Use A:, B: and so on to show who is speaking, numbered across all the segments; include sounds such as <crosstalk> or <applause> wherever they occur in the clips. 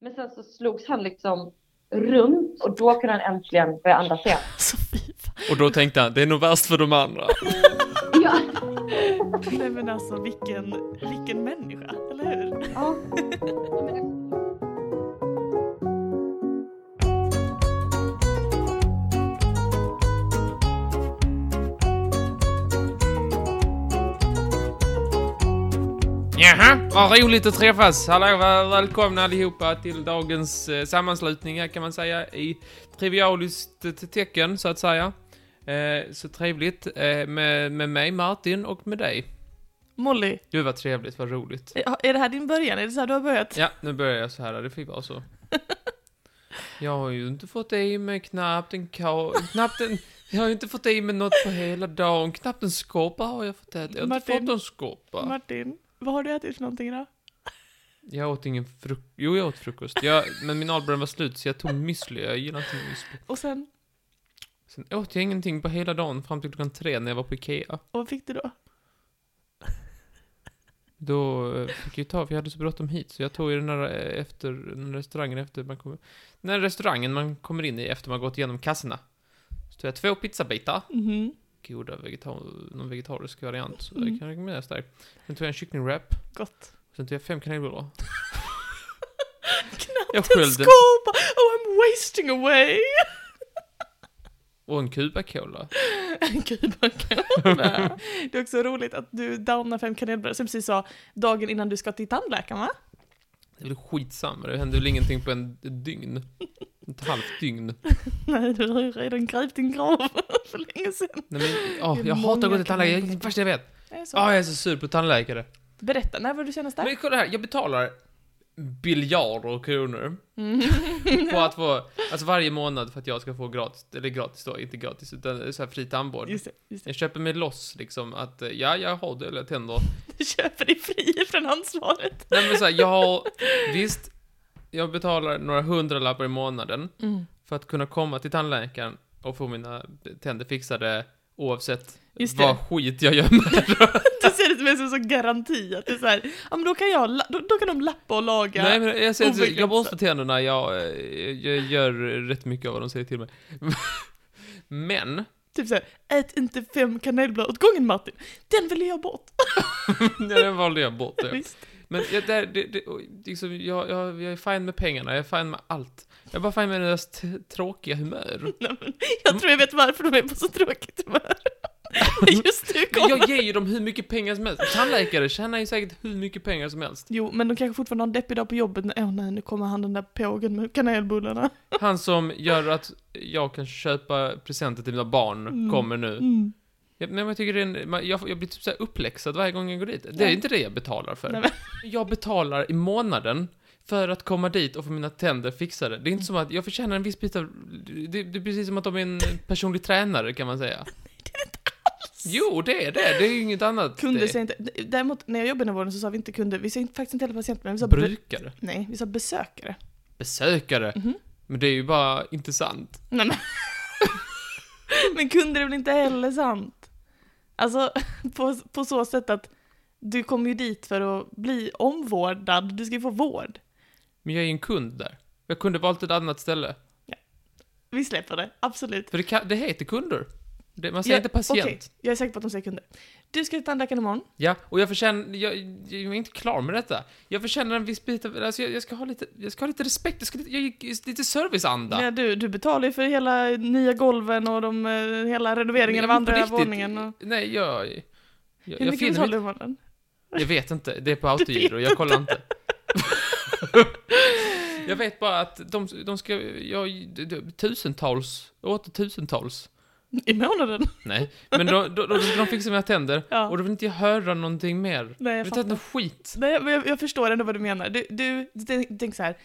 A: Men sen så slogs han liksom runt och då kunde han äntligen börja andas igen.
B: <laughs> Alltså fy fan.
C: Och då tänkte han, det är nog värst för de andra.
A: Ja,
B: Nej men alltså vilken, vilken människa, eller hur?
A: ja. Ja, men det-
C: Jaha, vad roligt att träffas. Hallå, väl- välkomna allihopa till dagens eh, sammanslutning här kan man säga i trivialiskt eh, tecken så att säga. Eh, så trevligt eh, med, med mig Martin och med dig.
B: Molly,
C: Gud vad trevligt, vad roligt.
B: ja, är det här din början? Är det så här du har börjat?
C: Ja, nu börjar jag så här, det fick
B: <laughs>
C: vara så. Jag har ju inte fått i mig knappt en ka... knappt en... Jag har ju inte fått i mig något på hela dagen, knappt en skorpa har jag fått äta. Jag har inte
B: Martin.
C: fått en skorpa.
B: Martin, vad har du ätit för någonting idag?
C: Jag åt ingen frukost. Jo, jag åt frukost. Jag, men min allbränna var slut, så jag tog müsli. Jag gillar inte müsli.
B: Och sen,
C: Sen åt jag ingenting på hela dagen fram till klockan tre när jag var på Ikea.
B: och vad fick du då?
C: Då eh, fick jag ju ta, för jag hade så bråttom hit, så jag tog ju den här eh, efter, den här restaurangen efter man kommer... Den här restaurangen man kommer in i efter man gått igenom kassorna. Så tog jag två pizzabitar.
B: Mhm,
C: Goda vegetar, någon vegetarisk variant, så
B: Mm.
C: jag kan rekommendera starkt. Sen tog jag en kycklingwrap.
B: gott.
C: Sen tog jag fem kanelbullar. Jag
B: <laughs> Knappt en
C: sköljde.
B: skorpa! Oh I'm wasting away!
C: Och en cubacola.
B: <laughs> Gud vad kanelbullar. <laughs> Det är också roligt att du downar fem kanelbullar som precis sa dagen innan du ska till tandläkaren va?
C: Det är väl skitsamma, det hände väl ingenting på en ett dygn. Ett halvt dygn.
B: <laughs> Nej, du har ju redan grävt din grav <laughs> för länge sedan.
C: Nej, men, åh,
B: Det är
C: jag
B: många
C: hatar att gå till tandläkare, det är
B: kanelbullar.
C: det värsta jag vet.
B: Det är så.
C: Åh, jag är så sur på tandläkare.
B: Berätta, när var du senast där?
C: Men kolla här, jag betalar biljarder kronor
B: Mm.
C: på att få, alltså varje månad för att jag ska få gratis, eller gratis då, inte gratis, utan så här fri
B: <laughs>
C: tandvård.
B: Just det, just det.
C: Jag köper mig loss liksom att, eh, ja, jag har dåliga tänder.
B: Du köper dig fri från ansvaret.
C: Nej men så här, jag har, visst, jag betalar några hundralappar i månaden. för att kunna komma till tandläkaren och få mina tänder fixade oavsett
B: Just det.
C: vad skit jag gör med.
B: <laughs> Du ser det som en sån- sån garanti att det är så här, ja men då kan jag, la- då, då kan de lappa och laga.
C: Nej men jag säger
B: Obegränsat.
C: att jag borstar tänderna, jag, eh, jag gör rätt mycket av vad de säger till mig. <laughs>
B: <laughs>
C: Men,
B: Typ såhär, ät inte fem kanelbullar åt gången Martin. Den vill jag bort.
C: ja, den valde jag bort. ja.
B: <laughs> Visst.
C: Men jag, det, det, det, och liksom, jag, jag, jag är fine med pengarna, jag är fine med allt. Jag är bara fine med deras t- tråkiga humör.
B: Nej, men jag tror jag vet varför de är på så tråkigt
C: <laughs>
B: humör. Just nu
C: Men
B: kommer...
C: jag ger ju dem hur mycket pengar som helst. Tandläkare tjänar ju säkert hur mycket pengar som helst.
B: Jo, men de kanske fortfarande har en deppig dag på jobbet. Nej, Åh nej, nu kommer han den där pågen med kanelbullarna.
C: Han som gör att jag kan köpa presenter till mina barn
B: Mm.
C: kommer nu.
B: Mm.
C: Ja, men jag tycker det är en, man- jag, jag blir typ så här uppläxad varje gång jag går dit. Det är
B: Nej.
C: inte det jag betalar för.
B: Nej, men-
C: Jag betalar i månaden för att komma dit och få mina tänder fixade. Det är inte som att jag förtjänar en viss bit av... Det, det är precis som att de är en personlig tränare kan
B: <laughs>
C: man säga. Jo, det är det. Det är ju inget annat.
B: Kunder
C: det
B: säger inte... Däremot, när jag jobbade i vården så sa vi inte kunder. Vi sa inte, faktiskt inte heller patienter, men vi sa... be-
C: Brukare.
B: Nej, vi sa besökare.
C: Besökare.
B: Mhm.
C: Men det är ju bara inte sant.
B: Nej, men... <laughs> men kunder är väl inte heller sant? Alltså, <laughs> på, på så sätt att du kommer ju dit för att bli omvårdad. Du ska ju få vård.
C: Men jag är ju en kund där. Jag kunde valt ett annat ställe.
B: Vi släpper det, absolut.
C: För det, kan, det heter kunder. Det, man säger
B: Ja,
C: inte patient.
B: Okej, jag är säker på att de säger kunder. Du ska till tandläkaren imorgon.
C: Ja, och jag förtjänar... Jag, jag är inte klar med detta. Jag förtjänar en viss bit av... Alltså jag, jag, ska, ha lite, jag ska ha lite respekt. Jag ska lite- jag, jag, lite serviceanda.
B: Ja, du, du betalar ju för hela nya golven och de, eh, hela renoveringen av
C: Men på
B: andra
C: riktigt,
B: våningen. Och...
C: Nej, jag... Jag, jag,
B: Hur
C: jag
B: mycket
C: finner
B: betalar du
C: mitt,
B: i månaden?
C: Jag vet inte. Det är på autogiro. Jag kollar inte. <laughs> jag vet bara att de, de ska... Jag, de- de- tusentals. Åter tusentals.
B: I månaden?
C: Nej. Men då, då, då ska de fixa mina tänder.
B: Ja.
C: Och då vill inte jag höra någonting mer.
B: Nej,
C: Jag
B: jag
C: vill inte
B: fattar.
C: höra något skit.
B: Nej, men jag, jag förstår ändå vad du menar. Du, du, du tänk- tänk så här.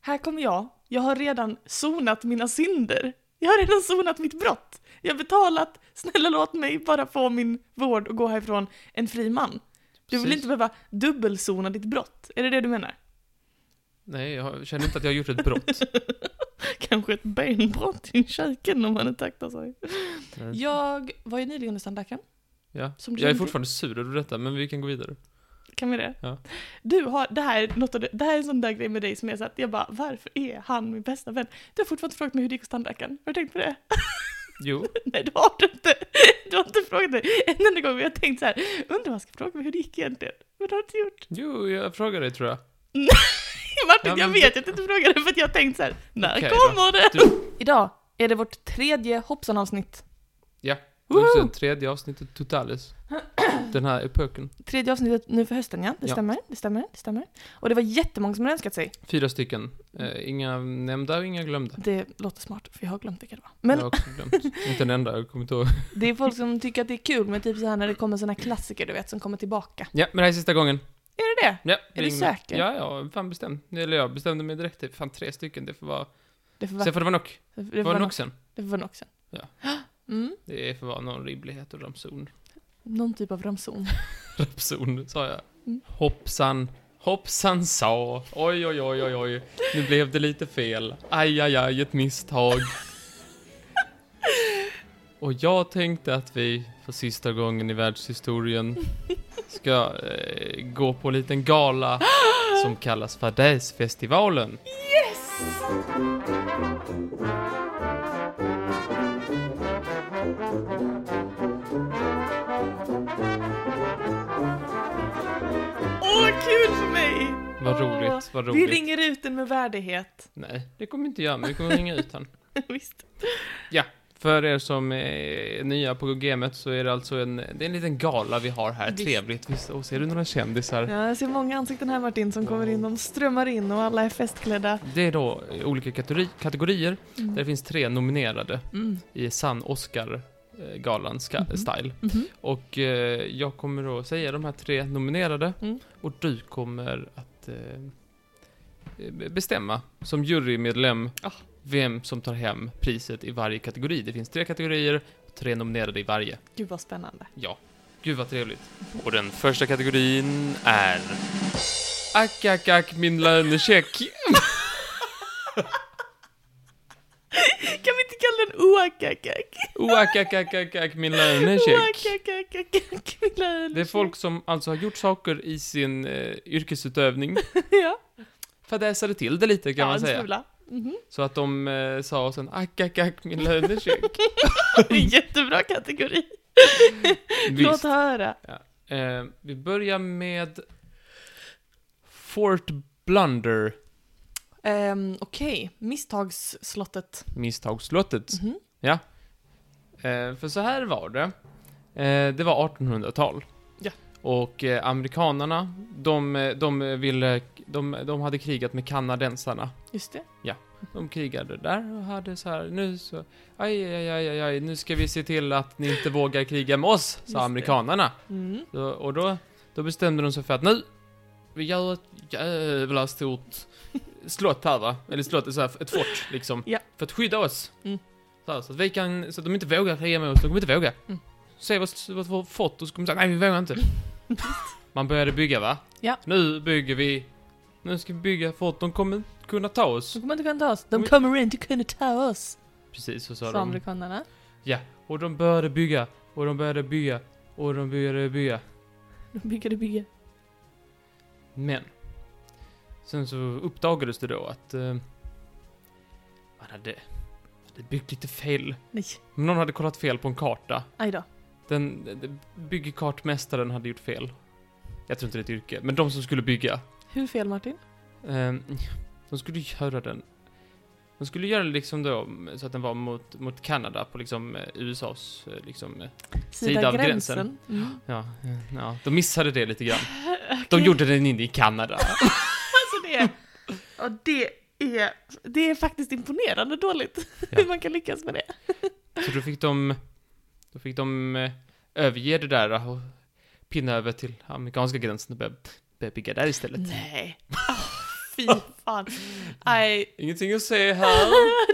B: Här kommer jag. Jag har redan sonat mina synder. Jag har redan sonat mitt brott. Jag har betalat. Snälla låt mig bara få min vård och gå härifrån en fri man. Du vill
C: Precis.
B: inte behöva dubbelsona ditt brott. Är det det du menar?
C: Nej, jag känner inte att jag har gjort ett brott.
B: <laughs> Kanske ett benbrott i käken om man inte aktar sig. Jag var ju nyligen hos tandläkaren.
C: Ja.
B: Som du
C: jag är
B: känner
C: fortfarande sur över detta, men vi kan gå vidare.
B: Kan vi det?
C: Ja.
B: Du har, det här, är något av det, det här är en sån där grej med dig som är så att jag bara, varför är han min bästa vän? Du har fortfarande inte frågat mig hur det gick hos tandläkaren. Har du tänkt på det? <laughs>
C: Jo.
B: Nej, det har du inte. Du har inte frågat mig en enda gång. Men jag har tänkt så här, undrar vad jag ska fråga mig hur det gick egentligen. Men det har du inte gjort. <laughs>
C: Jo, jag frågade dig tror jag.
B: Martin,
C: Ja, men
B: jag vet
C: det-
B: att du inte frågade för att jag har tänkt så här, när
C: Okej då.
B: kommer det?
C: Du-
B: Idag är det vårt tredje hoppsan-avsnitt.
C: Ja.
B: Woho!
C: Nu ser tredje avsnittet Totalis. Den här epoken.
B: Tredje avsnittet nu för hösten, ja. Det
C: Ja.
B: stämmer, det stämmer, det stämmer. Och det var jättemånga som hade önskat sig.
C: Fyra stycken. Eh, inga nämnda och inga glömda.
B: Det låter smart, för jag har glömt vilka det var. Men
C: Jag har också glömt. Inte en enda, jag kommer inte ihåg.
B: det är folk som tycker att det är kul med typ så här när det kommer såna klassiker, du vet, som kommer tillbaka.
C: Ja, men det här är sista gången.
B: Är det det?
C: Ja,
B: du
C: ring mig.
B: säker?
C: Ja, ja, fan bestämd. Eller jag bestämde mig direkt. Det är Fan, tre stycken. Det får vara...
B: Det får vara,
C: Sen får det vara nog.
B: det
C: Det
B: får
C: var
B: vara,
C: nog
B: nog,
C: sen.
B: det får vara nog sen.
C: Ja.
B: <gasps> Mm,
C: Det får vara någon rimlighet och ramson.
B: någon typ av ramson.
C: Rapson, sa jag.
B: Mm.
C: Hoppsan. Hoppsan sa. Oj, oj, oj, oj, oj. Nu blev det lite fel. Aj, aj, aj, ett misstag. Och jag tänkte att vi för sista gången i världshistorien ska eh, gå på en liten gala som kallas Fadäsfestivalen.
B: Åh, vad kul för mig!
C: Vad
B: Åh,
C: roligt, vad
B: Vi
C: roligt.
B: ringer ut den med värdighet. <laughs>
C: Nej, det kommer vi inte göra, men vi kommer ringa ut han.
B: Visst.
C: För er som är nya på gamet så är det alltså en, det är en liten gala vi har här.
B: Visst.
C: Trevligt. Visst, och ser du några kändisar?
B: Ja, jag ser många ansikten här Martin som kommer in, de strömmar in och alla är festklädda.
C: Det är då eh, olika kategori, kategorier, där det finns tre nominerade
B: Mm. Mm-hmm.
C: i sann Oscar-galan style. Och eh, jag kommer då säga de här tre nominerade
B: Mm.
C: och du kommer att eh, bestämma som jurymedlem
B: Ah.
C: vem som tar hem priset i varje kategori. Det finns tre kategorier och tre nominerade i varje.
B: Gud vad spännande.
C: Ja, gud vad trevligt. Och den första kategorin är... Ack, ack, ack, min lönecheck.
B: <laughs> Kan vi inte kalla den oakakak?
C: Oh, ack, ack, ack, ack, Oh, ack, min lönecheck.
B: Oakakakak, min lön.
C: Det är folk som alltså har gjort saker i sin eh, yrkesutövning,
B: <laughs> Ja,
C: fadäsade till det lite kan
B: ja,
C: man
B: en
C: säga.
B: smula. <laughs> Mhm.
C: Så att de eh, sa sen ack, ack, ack, min <laughs> lönecheck.
B: Det är en jättebra kategori. Låt
C: Visst.
B: höra.
C: Eh, vi börjar med Fort Blunder,
B: Um, Okej, misstagsslottet.
C: misstagsslottet.
B: Mhm.
C: Eh, för så här var det. Eh, det var 1800-tal.
B: Ja.
C: Och eh, amerikanarna, de, eh, de ville, de, de hade krigat med kanadensarna.
B: Just det.
C: De krigade där och hade så här, nu så, aj, aj, aj, aj, aj, nu ska vi se till att ni inte vågar kriga med oss,
B: Just det.
C: sa amerikanarna.
B: Mm.
C: Då, och då, då bestämde de sig för att nu, vi gör ett jävla stort slott här va? Eller slott, så här, ett fort liksom.
B: Ja.
C: För att skydda oss.
B: Mm.
C: Så, här, så att vi kan, så att de inte vågar kriga med oss, de kommer inte våga.
B: Mm.
C: Se vårt, vårt, vårt fort och så kommer de säga, nej vi
B: <laughs>
C: vågar inte. Man började bygga va?
B: Ja.
C: Nu bygger vi, nu ska vi bygga fort, de kommer kunna ta oss.
B: De kommer inte kunna ta oss. De
C: Men-
B: kommer inte kunna ta oss,
C: Precis, så sa
B: Mm. sa
C: de.
B: amerikanerna.
C: Och de började bygga, och de började bygga, och de började bygga.
B: De byggade bygge.
C: Men. Sen så uppdagades det då att... Eh, man hade, hade byggt lite fel.
B: Nej,
C: Någon hade kollat fel på en karta.
B: aj då.
C: Den, den byggkartmästaren hade gjort fel. Jag tror inte det är ett yrke, men de som skulle bygga.
B: Hur fel Martin?
C: Eh, de skulle göra den... De skulle göra det liksom då så att den var mot, mot Kanada på liksom eh, USAs eh, liksom... eh, Sida av gränsen.
B: Mm.
C: Ja, eh, ja, de missade det lite grann. De gjorde den inne i Kanada.
B: Alltså det, och det, är, det är faktiskt imponerande dåligt
C: Ja.
B: hur man kan lyckas med det.
C: Så då fick de, då fick de eh, överge det där och pinna över till amerikanska gränsen och börja, börja bygga där istället. <laughs>
B: Nej. Ah, fy fan.
C: Mm.
B: Nej,
C: Ingenting att se här.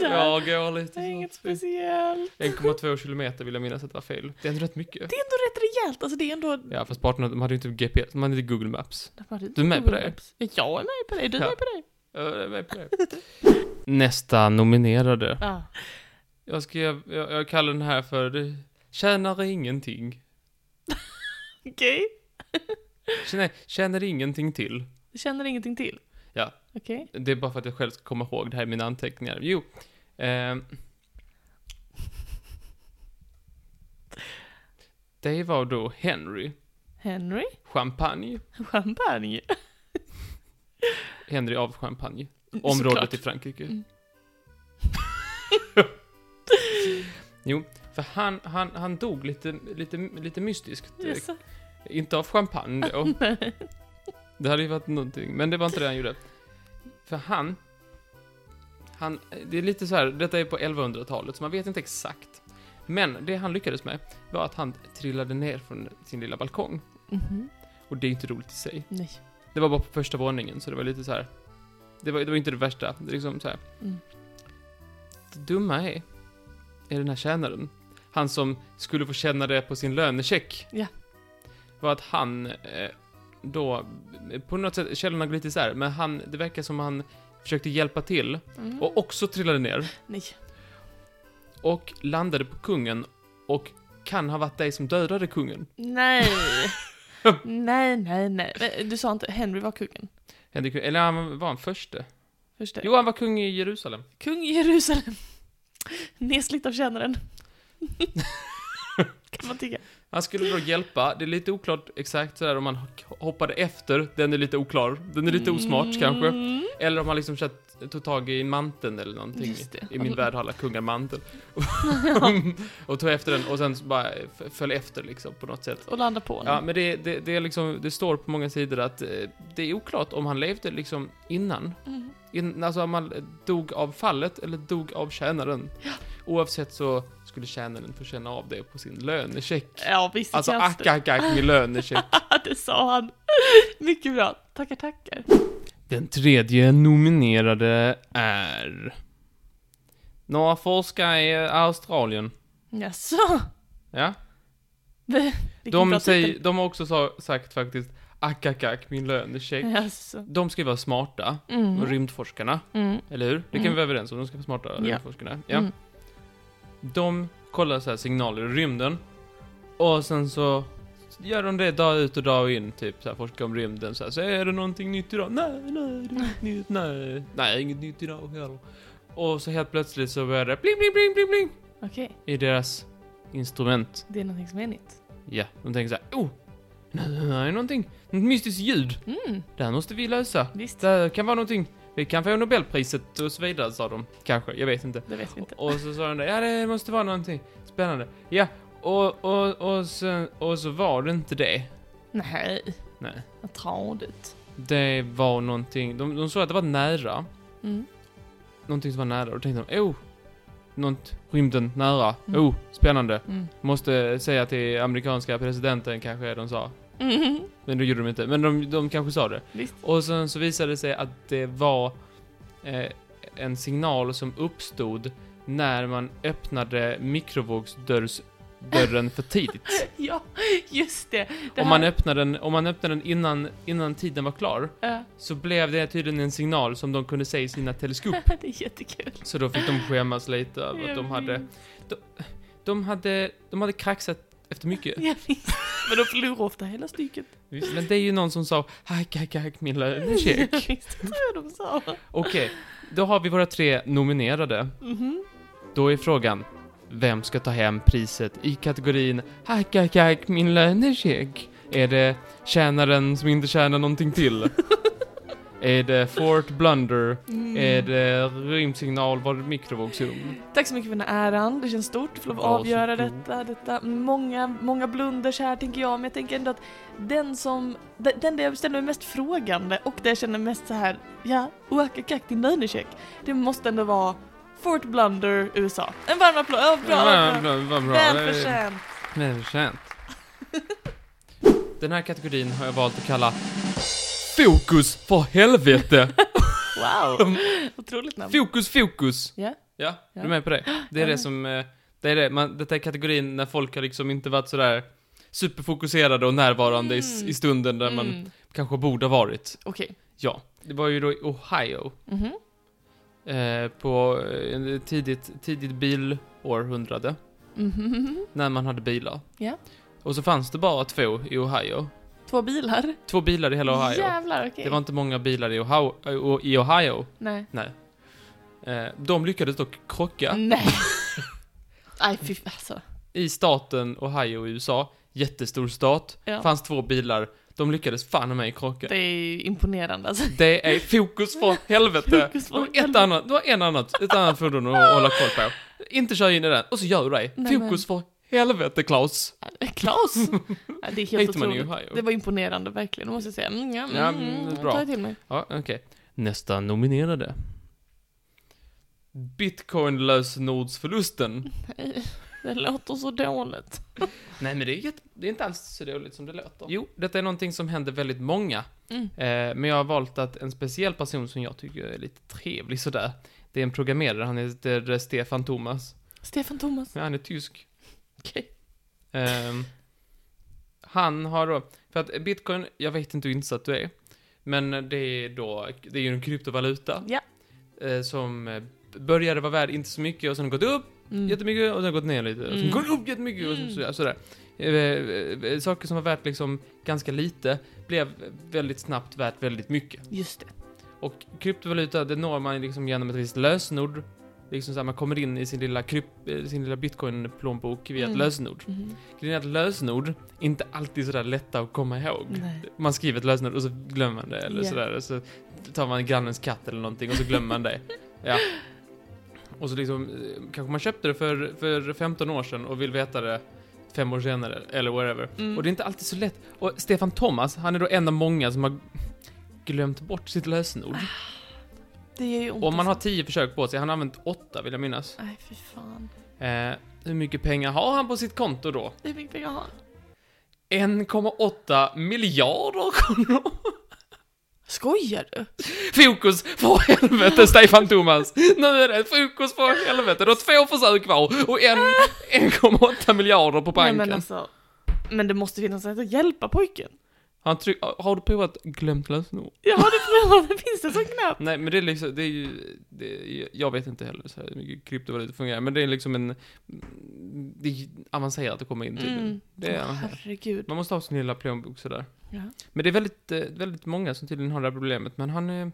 C: Jag
B: <laughs>
C: går
B: det är
C: lite
B: inget
C: så.
B: speciellt.
C: 1,2 kilometer vill jag minnas att det var fel. Det är ändå rätt mycket.
B: Det är ändå rätt rejält. Alltså det är ändå...
C: Ja, fast parterna, de hade ju inte GPS, de hade inte Google Maps.
B: Du
C: är med på det?
B: Jag är med på det, du är
C: Ja.
B: med på det.
C: Jag
B: <laughs>
C: är med på det. Nästa nominerade.
B: Ja.
C: Jag ska, jag, jag kallar den här för det Tjänar ingenting.
B: Okej.
C: Känner, känner ingenting till.
B: Du känner ingenting till?
C: Ja.
B: Okej.
C: Det är bara för att jag själv ska komma ihåg det här i mina anteckningar. Jo. Eh, det var då Henry.
B: Henry?
C: Champagne.
B: Champagne?
C: Henry av Champagne. <laughs> Området i Frankrike.
B: Mm.
C: <laughs> jo, för han, han, han dog lite, lite, lite mystiskt.
B: Yes.
C: Inte av champagne då. det hade ju varit någonting, men det var inte det han gjorde. För han, han, det är lite så här, detta är på 1100-talet, så man vet inte exakt. Men det han lyckades med var att han trillade ner från sin lilla balkong.
B: Mhm.
C: Och det är inte roligt i sig.
B: Nej.
C: Det var bara på första våningen, så det var lite så här. Det var, det var inte det värsta, det är liksom så här.
B: Mm.
C: Det dumma är, är den här tjänaren. Han som skulle få känna det på sin lönecheck.
B: Ja.
C: Var att han eh, då, på något sätt, källorna går lite isär, men han, det verkar som han försökte hjälpa till
B: Mm.
C: och också trillade ner
B: Nej.
C: och landade på kungen och kan ha varit dig som dödade kungen.
B: Nej.
C: <laughs>
B: nej, nej, nej. Men eh, Du sa inte Henry var kungen?
C: Henrik, eller han var han förste?
B: Först det.
C: Jo, han var kung i Jerusalem.
B: Kung i Jerusalem. <laughs> Nedslitt av
C: <laughs>
B: tjänaren. kan man tycka.
C: Han skulle då hjälpa, det är lite oklart exakt sådär om han hoppade efter, den är lite oklar, den är lite osmart kanske.
B: Mm.
C: Eller om han liksom kört, tog tag i en mantel eller någonting.
B: Just det.
C: I min värld har alla
B: <laughs>
C: kungar mantel. och tog efter den och sen så bara f- föll efter liksom på något sätt.
B: Och landa på honom.
C: Ja, men det, det, det är liksom, det står på många sidor att eh, det är oklart om han levde liksom innan.
B: Mm.
C: In, alltså om han dog av fallet eller dog av tjänaren. Oavsett så skulle tjänaren få känna av det på sin lönecheck.
B: Ja, visst det
C: Alltså
B: känns <laughs>
C: ack, ack, ack med lönecheck.
B: det. det sa han. Mycket bra. Tackar, tackar.
C: <laughs> Den tredje nominerade är... Några forskare i Australien.
B: Jaså?
C: Ja.
B: Vilken bra
C: De,
B: titel.
C: säger, de har också sa, sagt faktiskt ack, ack, ack min lönecheck.
B: Jaså.
C: De ska ju vara smarta,
B: Mm.
C: rymdforskarna.
B: Mm.
C: Eller hur? Det kan
B: Mm.
C: vi vara överens om. De ska vara smarta,
B: Ja.
C: rymdforskarna. Ja.
B: Mm.
C: De kollar så här signaler i rymden. Och sen så gör de det dag ut och dag in. Typ så här, forskar om rymden. Så, här, så är det någonting nytt idag? Nej, nej, det är inget nytt. Nej, nej, inget nytt idag heller. Och så helt plötsligt så börjar det bling, bling, bling, bling, bling.
B: Okej,
C: I deras instrument.
B: det är någonting som är nytt.
C: Ja, de tänker så här. Oh! Nej, nej, nej, någonting. Något mystiskt ljud.
B: Mm,
C: Det här måste vi lösa.
B: visst.
C: eh, Det här kan vara någonting. Vi kan få Nobelpriset och så vidare, sa de. Kanske, jag vet inte.
B: Det vet vi inte.
C: Och så sa de där, ja det måste vara någonting spännande. Ja, och, och, och, sen, och så var det inte det.
B: Nej,
C: Nej.
B: vad tradigt.
C: Det var någonting, de, de såg att det var nära.
B: Mm.
C: Någonting som var nära. Och då tänkte de, oh! Något, rymden, nära. Oh, spännande.
B: Mm.
C: Måste säga till amerikanska presidenten kanske de sa.
B: Mm. <laughs>
C: Men det gjorde de inte. Men de, de kanske sa det.
B: Visst.
C: Och sen så visade det sig att det var eh, en signal som uppstod när man öppnade mikrovågsdörren för tidigt.
B: Ja, just det. det
C: Om man öppnade den, om man öppnade den innan, innan tiden var klar
B: Ja,
C: så blev det tydligen en signal som de kunde se i sina teleskop.
B: <laughs> det är jättekul.
C: Så då fick de skämmas lite över att Alltså, de hade, de hade, de hade kraxat efter mycket.
B: Jag minns. Men de förlorar ofta hela stycket.
C: Visst, Men det är ju någon som sa hack, hack, hack, min lilla
B: Jag <laughs>
C: check.
B: minns inte vad de sa.
C: Okej, då har vi våra tre nominerade.
B: Mhm.
C: Då är frågan, vem ska ta hem priset i kategorin Hack, hack, hack, min lönecheck? Är det tjänaren som inte tjänar
B: <laughs>
C: någonting till? är det Fort Blunder?
B: Mm.
C: Är det rymdsignal? Var det mikrovågsugn?
B: Tack så mycket för den här äran, det känns stort. Du får lov att
C: Varsågod.
B: avgöra detta, detta. Många, många blunders här tänker jag, men jag tänker ändå att den som, de- den där jag ställer mig mest frågande och där jag känner mest så här, ja, oakakack din lönecheck, det måste ändå vara Fort Blunder USA. En varm applåd, ja, bra,
C: Ja,
B: bra.
C: bra, vad bra.
B: Välförtjänt.
C: Välförtjänt. Den här kategorin har jag valt att kalla Fokus för helvete!
B: Wow,
C: Mm.
B: otroligt namn.
C: Fokus, fokus!
B: Ja.
C: Ja,
B: Ja.
C: du är med på det? Det är det som, eh, det är det, man, detta är kategorin när folk har liksom inte varit sådär superfokuserade och närvarande i, s-
B: Mm.
C: i stunden där man
B: Mm.
C: kanske borde ha varit.
B: Okej.
C: Ja. Det var ju då i Ohio,
B: Mhm.
C: eh, på eh, tidigt, tidigt bilårhundrade,
B: Mhm.
C: när man hade bilar.
B: Ja.
C: Och så fanns det bara två i Ohio.
B: Två bilar?
C: Två bilar i hela Ohio.
B: Jävlar, okej.
C: Det var inte många bilar i Ohio. ö, I Ohio.
B: Nej.
C: Nej. Eh, De lyckades dock krocka <laughs>
B: Nej. Nej, fy alltså.
C: i staten Ohio i USA. Jättestor stat.
B: Ja.
C: Fanns två bilar. De lyckades fan mig krocka.
B: Det är ju imponerande alltså.
C: Det är
B: <laughs>
C: fokus för helvete.
B: Fokus för
C: Det var ett
B: helvete.
C: annat, det var en annat, ett annat fordon att hålla koll på. Inte köra in i den, och så gör du det.
B: Nej,
C: Fokus för helvete, Klaus.
B: <laughs> Klaus!
C: <laughs>
B: Ja, det är helt
C: Inte man i
B: otroligt.
C: Ohio.
B: Det var imponerande verkligen, det måste jag säga. Mm, ja, mm,
C: Ja,
B: ja,
C: men
B: mm,
C: bra.
B: Ta det till mig.
C: Ja, okej. Nästa nominerade. Bitcoin-lösenordsförlusten.
B: Nej, det låter så dåligt.
C: Nej, men det är, jätte, det är inte alls så dåligt som det låter. Jo, detta är någonting som händer väldigt många.
B: Mm.
C: Eh, men jag har valt att en speciell person som jag tycker är lite trevlig sådär. Det är en programmerare, han heter eh, Stefan Thomas.
B: Stefan Thomas.
C: Ja, han är tysk.
B: Okej.
C: Ehm, han har då, för att bitcoin, jag vet inte hur insatt du är, men det är då, det är ju en kryptovaluta.
B: Ja.
C: Eh, som eh, började vara värd inte så mycket och sen har den gått upp
B: Mm.
C: jättemycket och sen har den gått ner lite. Och sen
B: Mm.
C: går den upp jättemycket och sen
B: Mm.
C: sådär. sådär. Eh, eh, eh, Saker som var värt liksom ganska lite blev väldigt snabbt värt väldigt mycket.
B: Just det.
C: Och kryptovaluta, det når man liksom genom ett visst lösenord. Liksom så här, man kommer in i sin lilla, kryp, eh, sin lilla bitcoin-plånbok via ett
B: Mm.
C: lösenord.
B: Mm.
C: Grejen är att lösenord inte alltid är sådär lätta att komma ihåg.
B: Nej.
C: Man skriver ett lösenord och så glömmer man det eller
B: Ja.
C: sådär. Och så tar man grannens katt eller någonting och så glömmer man det. Ja. Och så liksom, eh, kanske man köpte det för, för 15 år sedan och vill veta det fem år senare eller whatever.
B: Mm.
C: Och det är inte alltid så lätt. Och Stefan Thomas, han är då en av många som har glömt bort sitt lösenord.
B: Ah, Det gör ju ont.
C: Och om man har
B: alltså.
C: tio försök på sig, han har använt åtta vill jag minnas.
B: Nej, fy fan.
C: Eh, hur mycket pengar har han på sitt konto då?
B: Hur mycket pengar har han?
C: 1,8 miljarder kronor.
B: Skojar du?
C: Fokus på helvete, Stefan Thomas. Nu är det fokus på helvete. Du har två försök kvar och en, 1,8 miljarder på
B: Nej,
C: banken.
B: men alltså. Men det måste finnas sätt att hjälpa pojken.
C: Han tryck, har du provat glömt lösenord?
B: Jag har det provat, <laughs> det finns det som knappt.
C: Nej, men det är liksom, det är ju, det är, jag vet inte heller så här hur mycket kryptovaluta fungerar, men det är liksom en, det är ju avancerat att komma in till.
B: Mm.
C: Det är
B: Åh,
C: avancerat.
B: herregud.
C: Man måste ha sin lilla plånbok sådär.
B: Ja.
C: Men det är väldigt, eh, väldigt många som tydligen har det här problemet, men han är...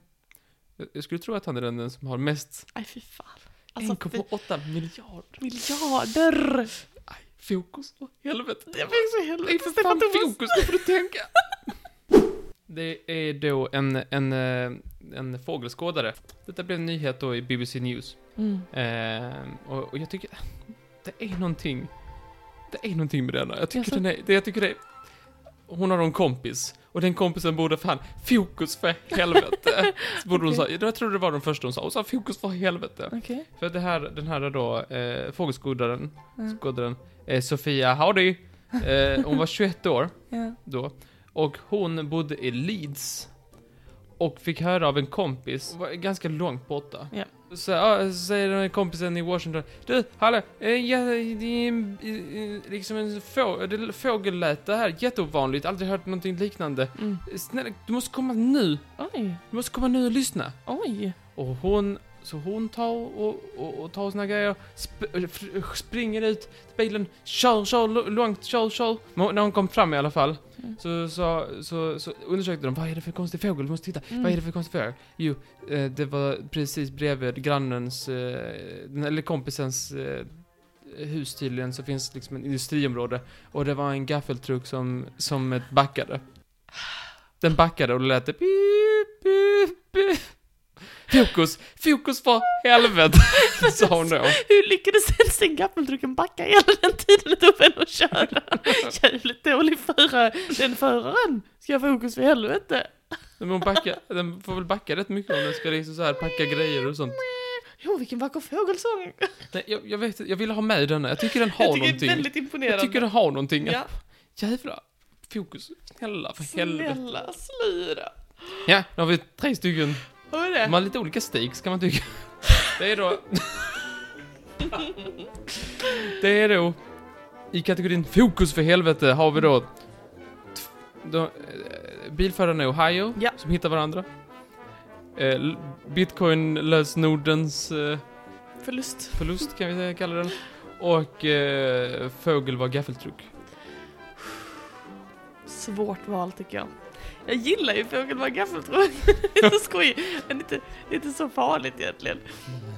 C: jag- Jag skulle tro att han är den som har mest.
B: Nej, fy fan. Alltså, fy-
C: 1,8 miljarder.
B: miljarder.
C: Aj, fokus på helvete.
B: Det var så
C: Det är för
B: helvete.
C: fan
B: Stefan Thomas.
C: fokus, då får du tänka. <laughs> Det är då en, en, eh, en fågelskådare. Detta blev en nyhet då i BBC News.
B: Mm.
C: Ehm, och, och jag tycker... Det är någonting... Det är någonting med denna. Jag tycker
B: Jaså?
C: den är... Det, jag tycker det är... Hon har en kompis. Och den kompisen borde fan... Fokus för <laughs> helvete! Så borde hon sa, jag tror det var den första hon sa. Hon sa fokus för helvete.
B: Okej.
C: För det här, den här då, eh, fågelskådaren,
B: Ja.
C: skådaren, eh, Sofia Howdy. Eh, hon var 21 år
B: Ja.
C: då. Och hon bodde i Leeds. Och fick höra av en kompis, var ganska långt borta.
B: Ja.
C: Så, ja, så säger den här kompisen i Washington. Du, hallå, eh, ja, det är en, eh, liksom en få, det är fågelläte här, jätteovanligt, aldrig hört någonting liknande.
B: Mm.
C: Snälla, du måste komma nu,
B: Oj,
C: du måste komma nu och lyssna.
B: oj.
C: Och hon, så hon tar och, och, och tar sina grejer, sp fr- springer ut till bilen, kör, kör lo- långt, kör, kör. Men hon- när hon kom fram i alla fall,
B: Mm.
C: så, så, så, så undersökte de, vad är det för konstig fågel? Du måste titta,
B: Mm.
C: vad är det för konstig fågel? Jo, eh, det var precis bredvid grannens, eh, den- eller kompisens eh, hus tydligen, så finns liksom ett industriområde. Och det var en gaffeltruck som, som ett backade. Den backade och det lät det pip, pip, pip. Fokus, fokus för helvete, <laughs> sa hon då.
B: Hur lyckades ens den gaffeltrucken backa hela den tiden det tog för henne att köra?
C: <laughs>
B: Jävligt dålig förare, den föraren. Ska jag fokus för helvete?
C: Men hon backar, den får väl backa rätt mycket om den ska liksom så här packa grejer och sånt.
B: Jo, vilken vacker fågelsång.
C: Nej, jag, jag vet inte, jag ville ha med den. Jag tycker den har
B: Jag tycker det
C: någonting.
B: är väldigt imponerande.
C: jag tycker den har någonting.
B: Ja,
C: Jävla fokus, snälla för helvete.
B: snälla, slira.
C: Ja, nu har vi tre stycken.
B: Hör du
C: De
B: det?
C: har lite olika stakes kan man tycka. Det är då... Det är då... I kategorin fokus för helvete har vi då... tf- då eh, bilförarna i Ohio
B: Ja.
C: som hittar varandra. Eh, l- Bitcoin-lösenordens eh,
B: Förlust.
C: förlust kan vi säga- kalla den. Och eh, fågel var gaffeltruck.
B: Så svårt val tycker jag. Jag gillar ju fågeln med gaffeltråd. <laughs> lite skoj, men inte, inte så farligt egentligen.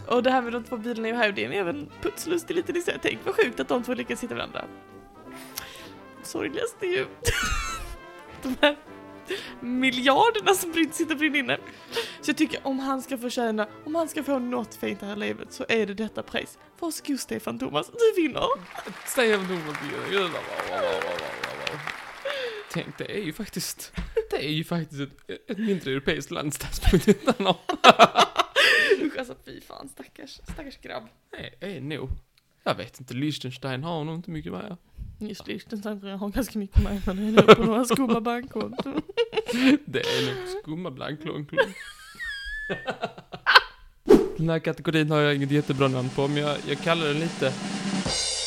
B: Och det här med de två bilarna i Ohio, det är en även putslustig liten historia. Tänk vad sjukt att de två lyckas hitta varandra. Sorgligast är ju <laughs> de här miljarderna som brin- sitter och brinner inne. Så jag tycker om han ska förtjäna, om han ska få något fint i det här livet så är det detta pris. Varsågod Stefan Thomas, du vinner!
C: Stefan Thomas Gud, wow, wow, wow, wow, wow. Tänk, det är ju faktiskt, det är ju faktiskt ett, ett mindre europeiskt land statsbudgeten har.
B: Usch alltså fy fan, stackars, stackars grabb.
C: Nej, är nog. Jag vet inte, Liechtenstein har nog inte mycket mer.
B: Just Liechtenstein tror jag har ganska mycket med men det är på några skumma bankkonton.
C: Det är nog skumma blankklonklon. Den här kategorin har jag inget jättebra namn på, men jag, jag kallar den lite...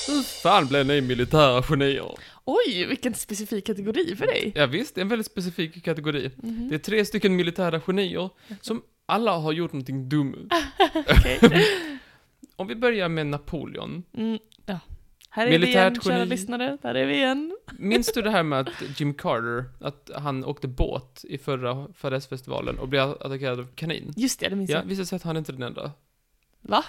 C: Hur fan blev ni militära genier?
B: Oj, vilken specifik kategori för dig! Mhm,
C: Ja, visst, det är en väldigt specifik kategori. Det är tre stycken militära genier som alla har gjort någonting dumt.
B: Okej.
C: Om vi börjar med Napoleon.
B: Mm, ja. Här är
C: Militärt
B: vi igen, kära
C: geni.
B: lyssnare. Där är vi igen.
C: Minns du det här med att Jim Carter, att han åkte båt i förra fadäsfestivalen och blev attackerad av kanin?
B: Just det, det minns
C: Ja,
B: jag.
C: visade sig att han inte är den enda.
B: Va?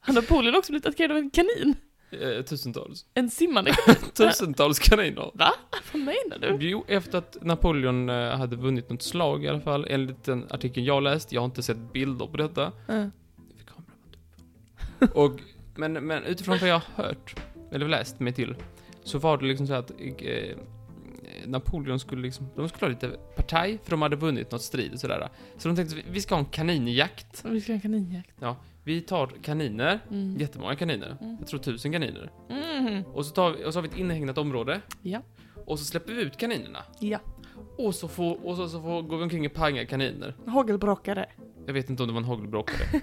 B: Han har Polen också blivit attackerad av en kanin?
C: Eh, tusentals.
B: En simmande?
C: <laughs> Tusentals kaniner.
B: Va? Vad menar du?
C: Jo, efter att Napoleon eh, hade vunnit något slag i alla fall, enligt den artikeln jag läst, jag har inte sett bilder på detta.
B: Ja.
C: För kameran
B: <laughs>
C: var dum. Och, men, men utifrån vad jag har hört, eller läst mig till, så var det liksom så att eh, Napoleon skulle liksom, de skulle ha lite partaj, för de hade vunnit något strid och sådär. Så de tänkte, vi ska ha en kaninjakt.
B: Vi ska ha en kaninjakt.
C: Vi tar kaniner,
B: Mm.
C: jättemånga kaniner,
B: Mm.
C: jag tror tusen kaniner.
B: Mm.
C: Och så, tar vi, och så har vi ett inhägnat område.
B: Ja.
C: Och så släpper vi ut kaninerna.
B: Ja.
C: Och så får, och så, så får, går vi omkring och pangar kaniner.
B: Hagelbrakare.
C: Jag vet inte om det var en hagelbråkare.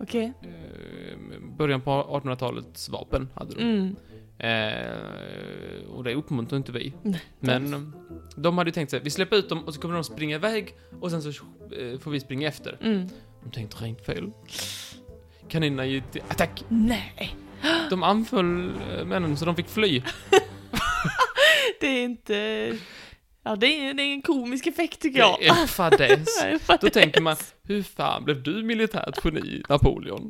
B: Okej.
C: Ehm, början på 1800-talets vapen hade de.
B: Mm.
C: Ehm, och det uppmuntrar inte vi.
B: Nej.
C: Men eh, de hade ju tänkt sig, vi släpper ut dem och så kommer de springa iväg och sen så eh, får vi springa efter.
B: Mm.
C: De tänkte rent fel. Kaninerna gick till attack.
B: Nej.
C: De anföll eh, männen så de fick fly.
B: Det är inte... Ja, det är, det är en komisk effekt tycker jag.
C: Det är en fadäs.
B: <laughs> Nej, fan.
C: Då tänker man, hur fan blev du militärt geni, Napoleon?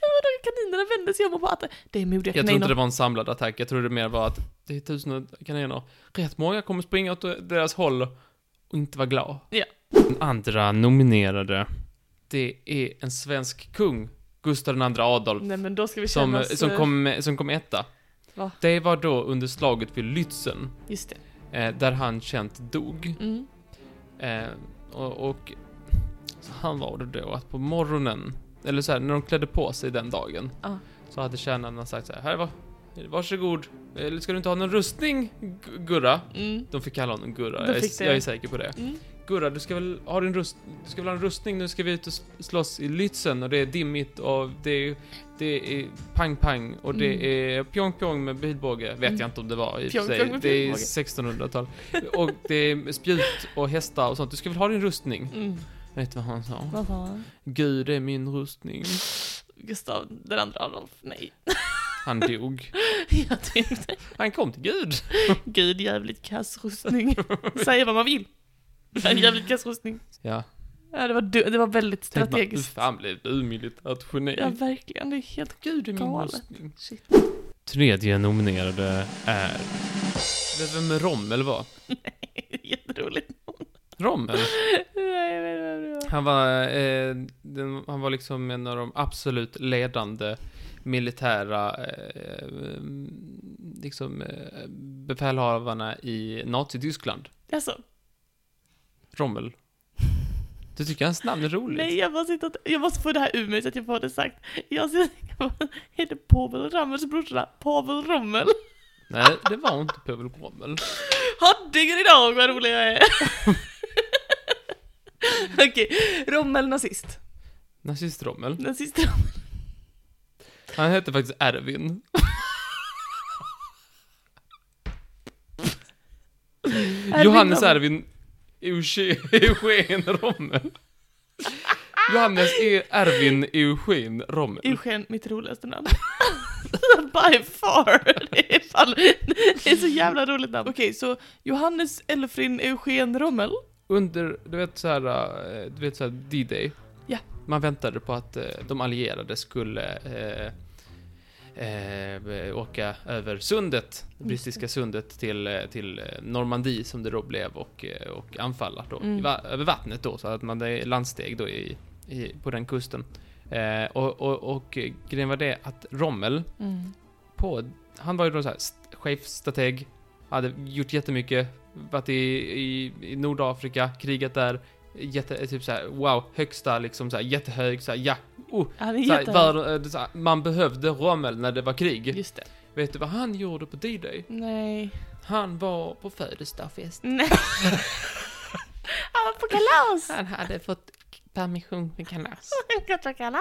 B: Vadå, kaninerna vände sig om och bara att det är modiga
C: Jag tror inte
B: kaniner.
C: det var en samlad attack, jag tror det mer var att det är tusen kaniner. Rätt många kommer springa åt deras håll och inte vara glad.
B: Ja.
C: Den andra nominerade, det är en svensk kung, Gustav II Adolf,
B: Nej men då ska vi
C: som,
B: känna oss...
C: som,
B: eh,
C: kom, som kom etta.
B: Va?
C: Det var då under slaget vid Lützen,
B: Just det.
C: eh, där han känt dog.
B: Mm.
C: Eh, och, och så han var det då att på morgonen, eller så här, när de klädde på sig den dagen,
B: Ja.
C: så hade tjänarna sagt så här, här var, varsågod, eller ska du inte ha någon rustning, Gu- Gurra?
B: Mm.
C: De fick kalla honom Gurra,
B: De
C: jag
B: fick det.
C: är, jag är säker på det.
B: Mm.
C: Gurra, du ska väl ha din rust, du ska väl ha en rustning, nu ska vi ut och s- slåss i Lützen och det är dimmigt och det är, det är pang-pang och det
B: Mm.
C: är pjong-pjong med pilbåge, vet
B: Mm.
C: jag inte om det var i och för
B: Pjong-pjong
C: sig.
B: med
C: Det är
B: pilbåge.
C: 1600-tal. Och det är spjut och hästar och sånt. Du ska väl ha din rustning?
B: Mm.
C: Vet du vad han sa?
B: Vad sa han?
C: Gud är min rustning.
B: Gustav den andra Adolf. Nej. <laughs>
C: Han dog.
B: Jag tänkte,
C: Han kom till Gud.
B: gud jävligt kass
C: <laughs>
B: rustning. Säg vad man vill. En jävligt kass rustning.
C: Ja.
B: Ja, det var, du, det var väldigt
C: Tänk man, hur
B: strategiskt.
C: fan blev du militärt geni?
B: Ja, verkligen. Det är helt...
C: Gud är min
B: galet.
C: rustning.
B: Shit.
C: Tredje nominerade är... Vet du vem Rommel var?
B: <laughs> Jätteroligt.
C: Rommel?
B: <laughs> Nej, jag vet inte vad det var.
C: Han var, eh, den, han var liksom en av de absolut ledande militära eh, liksom, eh, befälhavarna i Nazityskland.
B: Alltså,
C: Rommel. Du tycker hans namn är roligt?
B: nej, jag bara sitter och- Jag måste få det här ur mig så att jag får det sagt. Jag sitter... Heter Pavel Rammels brorsa Pavel Rommel?
C: Nej, det var inte Pavel Rommel.
B: Haddingen idag, vad rolig jag är! <laughs> Okej, Rommel nazist.
C: Nazist Rommel.
B: Nazist Rommel.
C: Han hette faktiskt Erwin. Johannes
B: Rommel.
C: Erwin Euge- Eugen Rommel. Johannes E. Erwin Eugen Rommel.
B: Eugen, mitt roligaste namn. <laughs> By far! Det är, fan, det är så jävla roligt namn. Okej, så Johannes Elfrin Eugen Rommel.
C: Under, du vet såhär, eh, du vet såhär D-Day.
B: Ja.
C: Man väntade på att eh, de allierade skulle eh, eh, åka över sundet, det brittiska sundet till, eh, till eh, Normandie som det då blev och, eh, och anfalla då,
B: Mm.
C: i va- över vattnet då, så att man det är landsteg då i, i, på den kusten. Eh, och, och, och eh, grejen var det att Rommel,
B: Mm.
C: på, han var ju då så här st- chefstrateg, hade gjort jättemycket, varit i, i, i Nordafrika, krigat där, jätte, typ så här, wow, högsta liksom så här, jättehög, så här, ja,
B: Han är
C: så här,
B: jättehög.
C: världen, eh, det är så här, man behövde Rommel när det var krig.
B: Just det.
C: Vet du vad han gjorde på D-Day?
B: Nej.
C: Han var på födelsedagsfest.
B: Nej. <laughs> Han var på kalas!
C: Han hade fått permission med kalas.
B: Han var på kalas.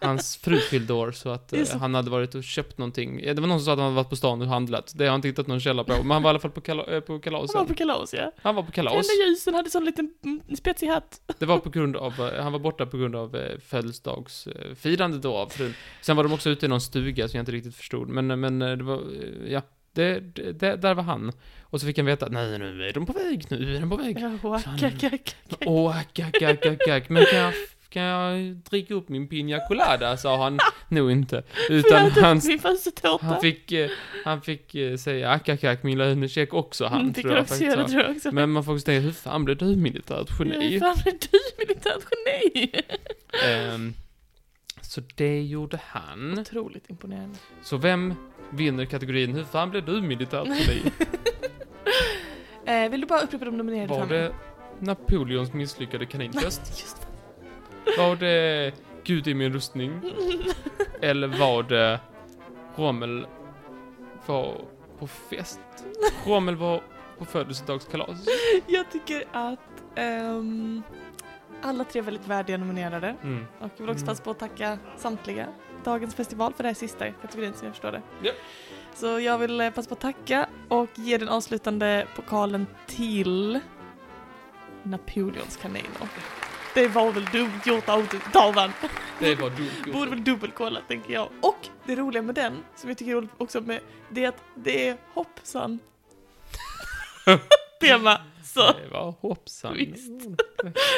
C: Hans fru fyllde år så att eh,
B: Det är så-
C: han hade varit och köpt någonting. Ja, Det var någon som sa att han hade varit på stan och handlat. Det har jag inte hittat någon källa på. Men han var i alla fall på, kala, eh, på
B: Han var
C: kalasen.
B: på kalas, ja.
C: Han var på kalas.
B: Tände ljusen, hade sån liten mm, spetsig hatt.
C: Det var på grund av, eh, han var borta på grund av eh, födelsedagsfirande då av frun. Sen var de också ute i någon stuga som jag inte riktigt förstod, men, eh, men eh, det var, eh, ja, det, det, det, där var han. Och så fick han veta att nej, nu är de på väg, nu är de på väg.
B: Ja, wacka, kacka.
C: Åh, ack, ack, ack, ack, ack, men kan jag, kan jag dricka upp min pina colada, sa han <laughs> nog inte. Utan
B: Flöt upp
C: han,
B: min fönstertårta.
C: han fick, eh, han fick eh, säga ack, ack, ack, min lönecheck också han,
B: Mm,
C: tror
B: Fick
C: jag
B: också
C: faktiskt.
B: göra,
C: sa.
B: tror jag också.
C: Men man får också tänka, hur fan blev du militärt geni?
B: Nej, fan är du militärt geni?
C: Ehm, så det gjorde han.
B: Otroligt imponerande.
C: Så vem vinner kategorin Hur fan blev du
B: <laughs>
C: militärt geni?
B: Eh, vill du bara upprepa de nominerade?
C: Var
B: fram?
C: det Napoleons misslyckade kanintest?
B: Just det. <laughs>
C: Var det Gud i min rustning? Eller var det Rommel var på fest? Rommel var på födelsedagskalas?
B: Jag tycker att ehm, alla tre är väldigt värdiga nominerade.
C: Mm.
B: Och jag vill också passa på att tacka samtliga. Dagens festival för det här sista kategorin som jag förstår det.
C: Ja.
B: Så jag vill eh, passa på att tacka och ge den avslutande pokalen till Napoleons kaniner. Det var väl dumt gjort av Darwin.
C: Det var dumt
B: Borde
C: gjort.
B: väl dubbelkolla tänker jag. Och det roliga med den, som jag tycker är roligt också med, det är att det är
C: <laughs>
B: hoppsan. tema. Så
C: Det var hoppsan. <laughs>
B: Visst. fick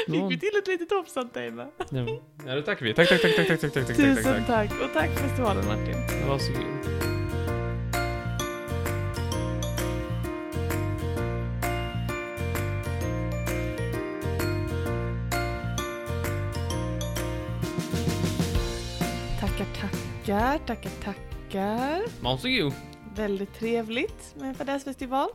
C: Någon-
B: vi till ett litet hoppsan-tema.
C: Ja, Ja, det tackar vi. Tack, tack, tack, tack, tack, tack, tack, tack, tack,
B: Tusen
C: tack.
B: tack och tack festivalen Martin.
C: Varsågod.
B: Tackar, tackar, tackar, tackar.
C: Varsågod.
B: Väldigt trevligt med en fadäsfestival.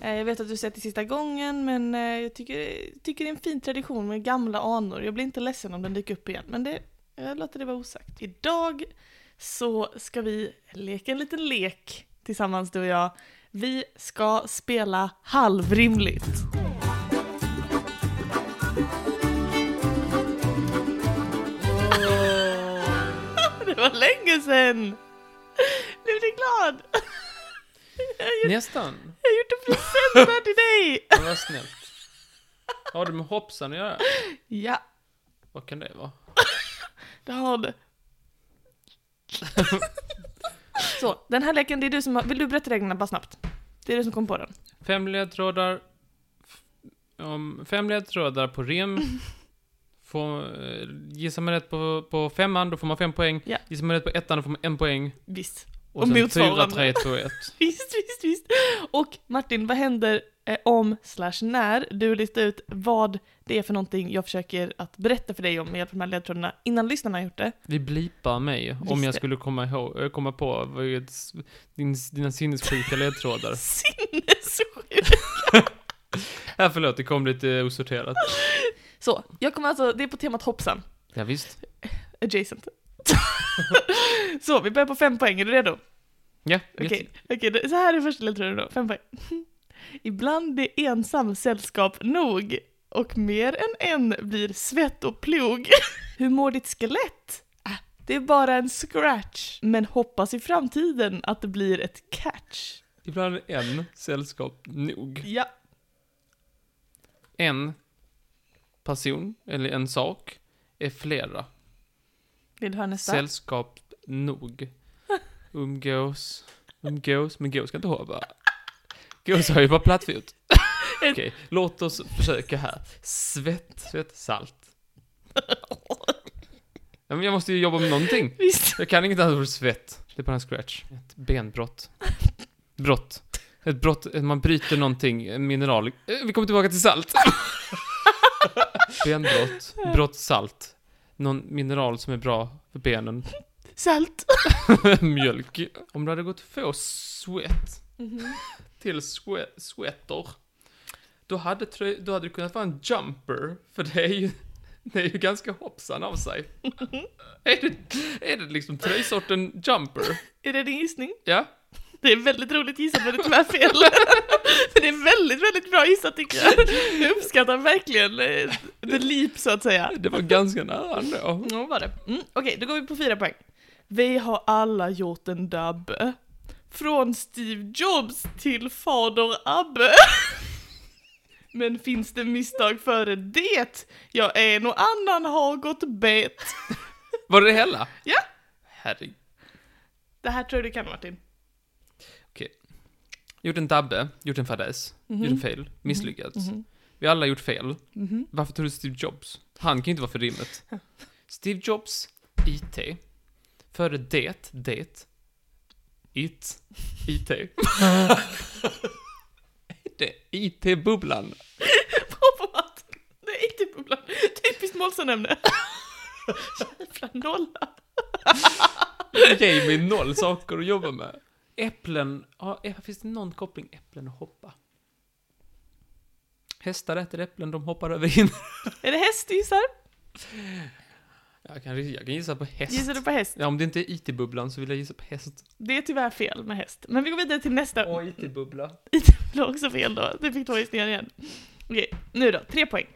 B: Eh, Jag vet att du sett det sista gången men eh, jag tycker, tycker det är en fin tradition med gamla anor. Jag blir inte ledsen om den dyker upp igen men det, jag låter det vara osagt. Idag så ska vi leka en liten lek tillsammans du och jag. Vi ska spela halvrimligt. <laughs> Det var länge sedan! Blev du glad? <laughs> Jag har gjort-
C: Nästan.
B: jag har gjort en present här till dig!
C: Det var snällt. Har det med hoppsan att göra?
B: <laughs> Ja,
C: Vad kan det vara?
B: det har du. Så, den här leken, det är du som har... Vill du berätta reglerna bara snabbt? Det är du som kom på den.
C: Fem ledtrådar. f- Om fem ledtrådar på rim. Får, eh, gissar man rätt på, på femman, då får man fem poäng.
B: Ja.
C: Gissar man rätt på ettan, då får man en poäng.
B: Visst.
C: Och,
B: Och
C: sen fyra,
B: motsvarande.
C: tre, två, ett.
B: Visst, visst, visst. Och Martin, vad händer eh, om slash när du listar ut vad det är för någonting jag försöker att berätta för dig om med hjälp av de här ledtrådarna innan lyssnarna har gjort det?
C: Vi blipar mig om
B: Just
C: jag
B: det.
C: skulle komma, ihåg, eh, komma på vad är ett s- din, dina sinnessjuka ledtrådar.
B: Sinnessjukt!
C: Ja, förlåt, det kom lite osorterat.
B: Så, jag kommer alltså, det är på temat hoppsan.
C: Ja, visst.
B: <laughs> Adjacent. så, vi börjar på fem poäng, är du redo?
C: Ja,
B: Okej,
C: visst.
B: okej, det- så här är första ledtråden då, fem poäng. <laughs> Ibland är ensam sällskap nog och mer än en blir svett och plog. <laughs> Hur mår ditt skelett? Ah, det är bara en scratch, men hoppas i framtiden att det blir ett catch.
C: Ibland är en sällskap nog.
B: Ja,
C: en person eller en sak är flera.
B: vill du höra nästa?
C: Sällskap nog. umgås, umgås, men gå ska inte ha bara. Gås har ju bara plattfot. Okej, låt oss försöka här. Svett, svett, salt. Ja, men jag måste ju jobba med någonting.
B: Visst.
C: Jag kan inget annat ord svett. Det är bara en scratch. Ett benbrott. Brott. Ett brott, eh, man bryter någonting, en mineral. Eh, Vi kommer tillbaka till salt. Benbrott, brott, salt. Någon mineral som är bra för benen.
B: Salt.
C: Mjölk. Om du hade gått få sweat till swe- sweater, då hade, trö- då hade du kunnat vara en jumper, för det är ju, det är ju ganska hoppsan av sig. är, det, är det liksom tröjsorten jumper?
B: Är det din gissning?
C: Ja?
B: Det är väldigt roligt gissat men det är tyvärr fel. <laughs> Men det är väldigt, väldigt bra gissat tycker jag. Jag uppskattar verkligen eh, the leap så att säga.
C: Det var ganska nära ändå.
B: Ja, var det. Mm, Okej, då går vi på fyra poäng. Vi har alla gjort en dubb. Från Steve Jobs till fader Abbe. <laughs> Men finns det misstag före det? Ja, en och annan har gått bet.
C: Var det det hela?
B: Ja,
C: Herregud.
B: det här tror jag du kan Martin. <laughs>
C: Gjort en tabbe, gjort en fadäs, gjort en fel, misslyckats. Vi har alla gjort fel. Varför tror du Steve Jobs? Han kan ju inte vara för rimmet. Steve Jobs, IT. Före det, det. It. IT. <laughs> det är IT-bubblan.
B: Bra på Martin. Det är inte bubblan. Typiskt Målsson-ämne. Jävla nolla.
C: Ge mig noll saker att jobba med. Äpplen, ja, ä- finns det någon koppling äpplen och hoppa? Hästar äter äpplen, de hoppar över hinder.
B: Är det häst du gissar?
C: Jag kan, jag kan gissa på häst.
B: Gissar du på häst?
C: Ja, om det inte är IT-bubblan så vill jag gissa på häst.
B: Det är tyvärr fel med häst. Men vi går vidare till nästa.
C: IT-bubbla.
B: <laughs> Det var också fel då. Du fick två gissningar igen. Okej, nu då. Tre poäng.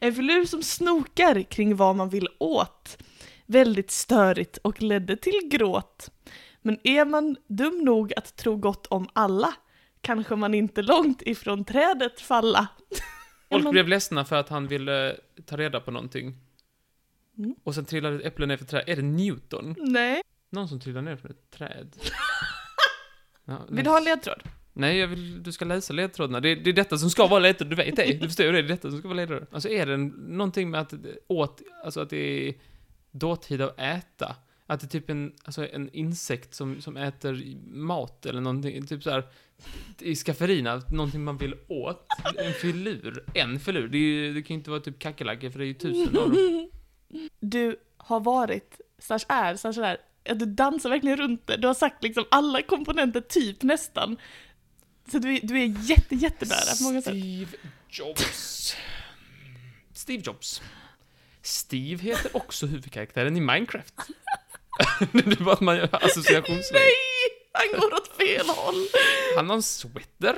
B: En filur som snokar kring vad man vill åt. Väldigt störigt och ledde till gråt. Men är man dum nog att tro gott om alla kanske man inte långt ifrån trädet falla.
C: Folk
B: Men-
C: blev ledsna för att han ville eh, ta reda på någonting.
B: Mm.
C: Och sen trillade ett äpple ner för träd. Är det Newton?
B: Nej.
C: Någon som trillar ner från
B: <laughs>
C: ett träd? Ja,
B: Vill du ha en ledtråd?
C: Nej, jag vill, du ska läsa ledtrådarna. Det, det är detta som ska vara ledtråd, du vet det. Du förstår ju det, det är detta som ska vara ledtråd. Alltså är det en- någonting med att det- åt, alltså att det är dåtid av äta. Att det är typ en, alltså en insekt som, som äter mat eller någonting, typ så här i skafferina, någonting man vill åt. En filur, en filur. Det, är ju, det kan ju inte vara typ kackerlackor för det är ju tusen av dem.
B: Du har varit, slash är, slash är, att du dansar verkligen runt det. Du har sagt liksom alla komponenter, typ nästan. Så du är, du är jätte, jättenära på många sätt.
C: Steve Jobs. Mm, Steve Jobs. Steve heter också huvudkaraktären i Minecraft. <laughs> det är bara att man gör associationsväg.
B: Nej! Han går åt fel <laughs> håll!
C: Han har en sweater.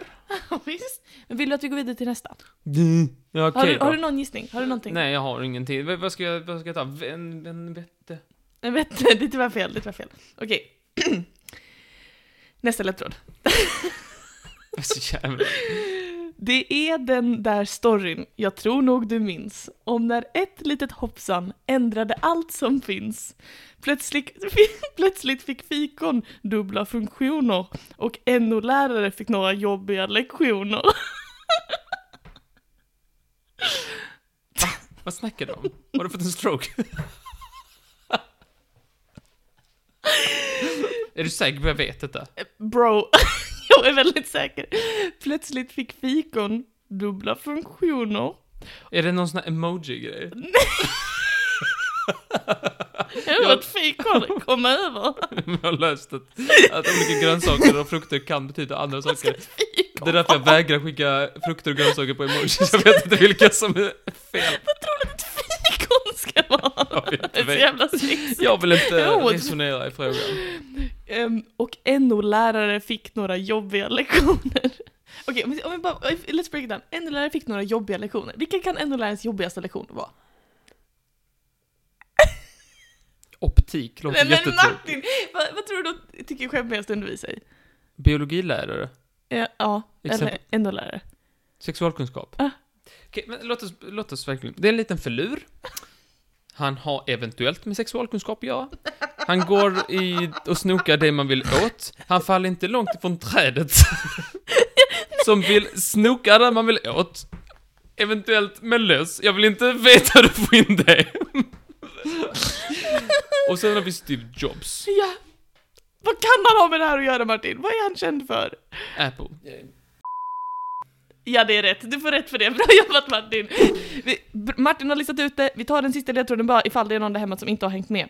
B: Visst. Men vill du att vi går vidare till nästa?
C: Mm. Ja,
B: Har,
C: okej
B: du,
C: då.
B: har du någon gissning? Har du någonting?
C: Nej, jag har ingenting. Vad vad ska jag, vad ska jag ta? Vän, vän, vette.
B: Jag vet inte, <laughs> det är tyvärr fel. Det är tyvärr fel. Okej. <clears throat> Nästa ledtråd.
C: Jag är Så jävla...
B: Det är den där storyn jag tror nog du minns om när ett litet hoppsan ändrade allt som finns. Plötsligt, <laughs> plötsligt fick fikon dubbla funktioner och NO-lärare fick några jobbiga lektioner.
C: Vad snackar du om? Har du fått en stroke? <laughs> är du säker på att jag vet detta?
B: Bro, <laughs> jag är väldigt säker. Plötsligt fick fikon dubbla funktioner.
C: Är det någon sån här emoji-grej?
B: Jag undrar vad fikon kom över.
C: <laughs> Jag har löst att, att olika grönsaker och frukter kan betyda andra saker. Det är därför jag vägrar skicka frukter och grönsaker på emojis. Jag vet inte vilka som är fel.
B: Vad tror du att ett fikon ska vara?
C: <laughs> Jag
B: Det är
C: vet inte.
B: så jävla sexigt.
C: Jag vill inte
B: Jo.
C: resonera i frågan.
B: Ehm, och NO-lärare fick några jobbiga lektioner. <laughs> Okej, om vi- om vi bara, let's break it down. NO-lärare fick några jobbiga lektioner. Vilken kan NO-lärarens jobbigaste lektion vara?
C: Optik låter
B: Nej men
C: jättetråkigt.
B: Martin, vad, vad tror du de tycker är skämmigast att undervisa i?
C: Biologilärare.
B: Ja, ja
C: Exempel.
B: eller <laughs>
C: <laughs>
B: NO-lärare.
C: Sexualkunskap.
B: Ah.
C: Okej, men låt oss, låt oss verkligen... Det är en liten förlur. Han har eventuellt med sexualkunskap att göra. Han går i och snokar det man vill åt. Han faller inte långt ifrån trädet.
B: <laughs>
C: Som vill snoka det man vill åt. Eventuellt med löss. Jag vill inte veta hur du får in det. Och sen har vi Steve Jobs.
B: Ja. Vad kan han ha med det här att göra Martin? Vad är han känd för?
C: Apple.
B: Ja, det är rätt. Du får rätt för det. Bra jobbat Martin! Vi, Br- Martin har listat ut det. Vi tar den sista ledtråden bara ifall det är någon där hemma som inte har hängt med.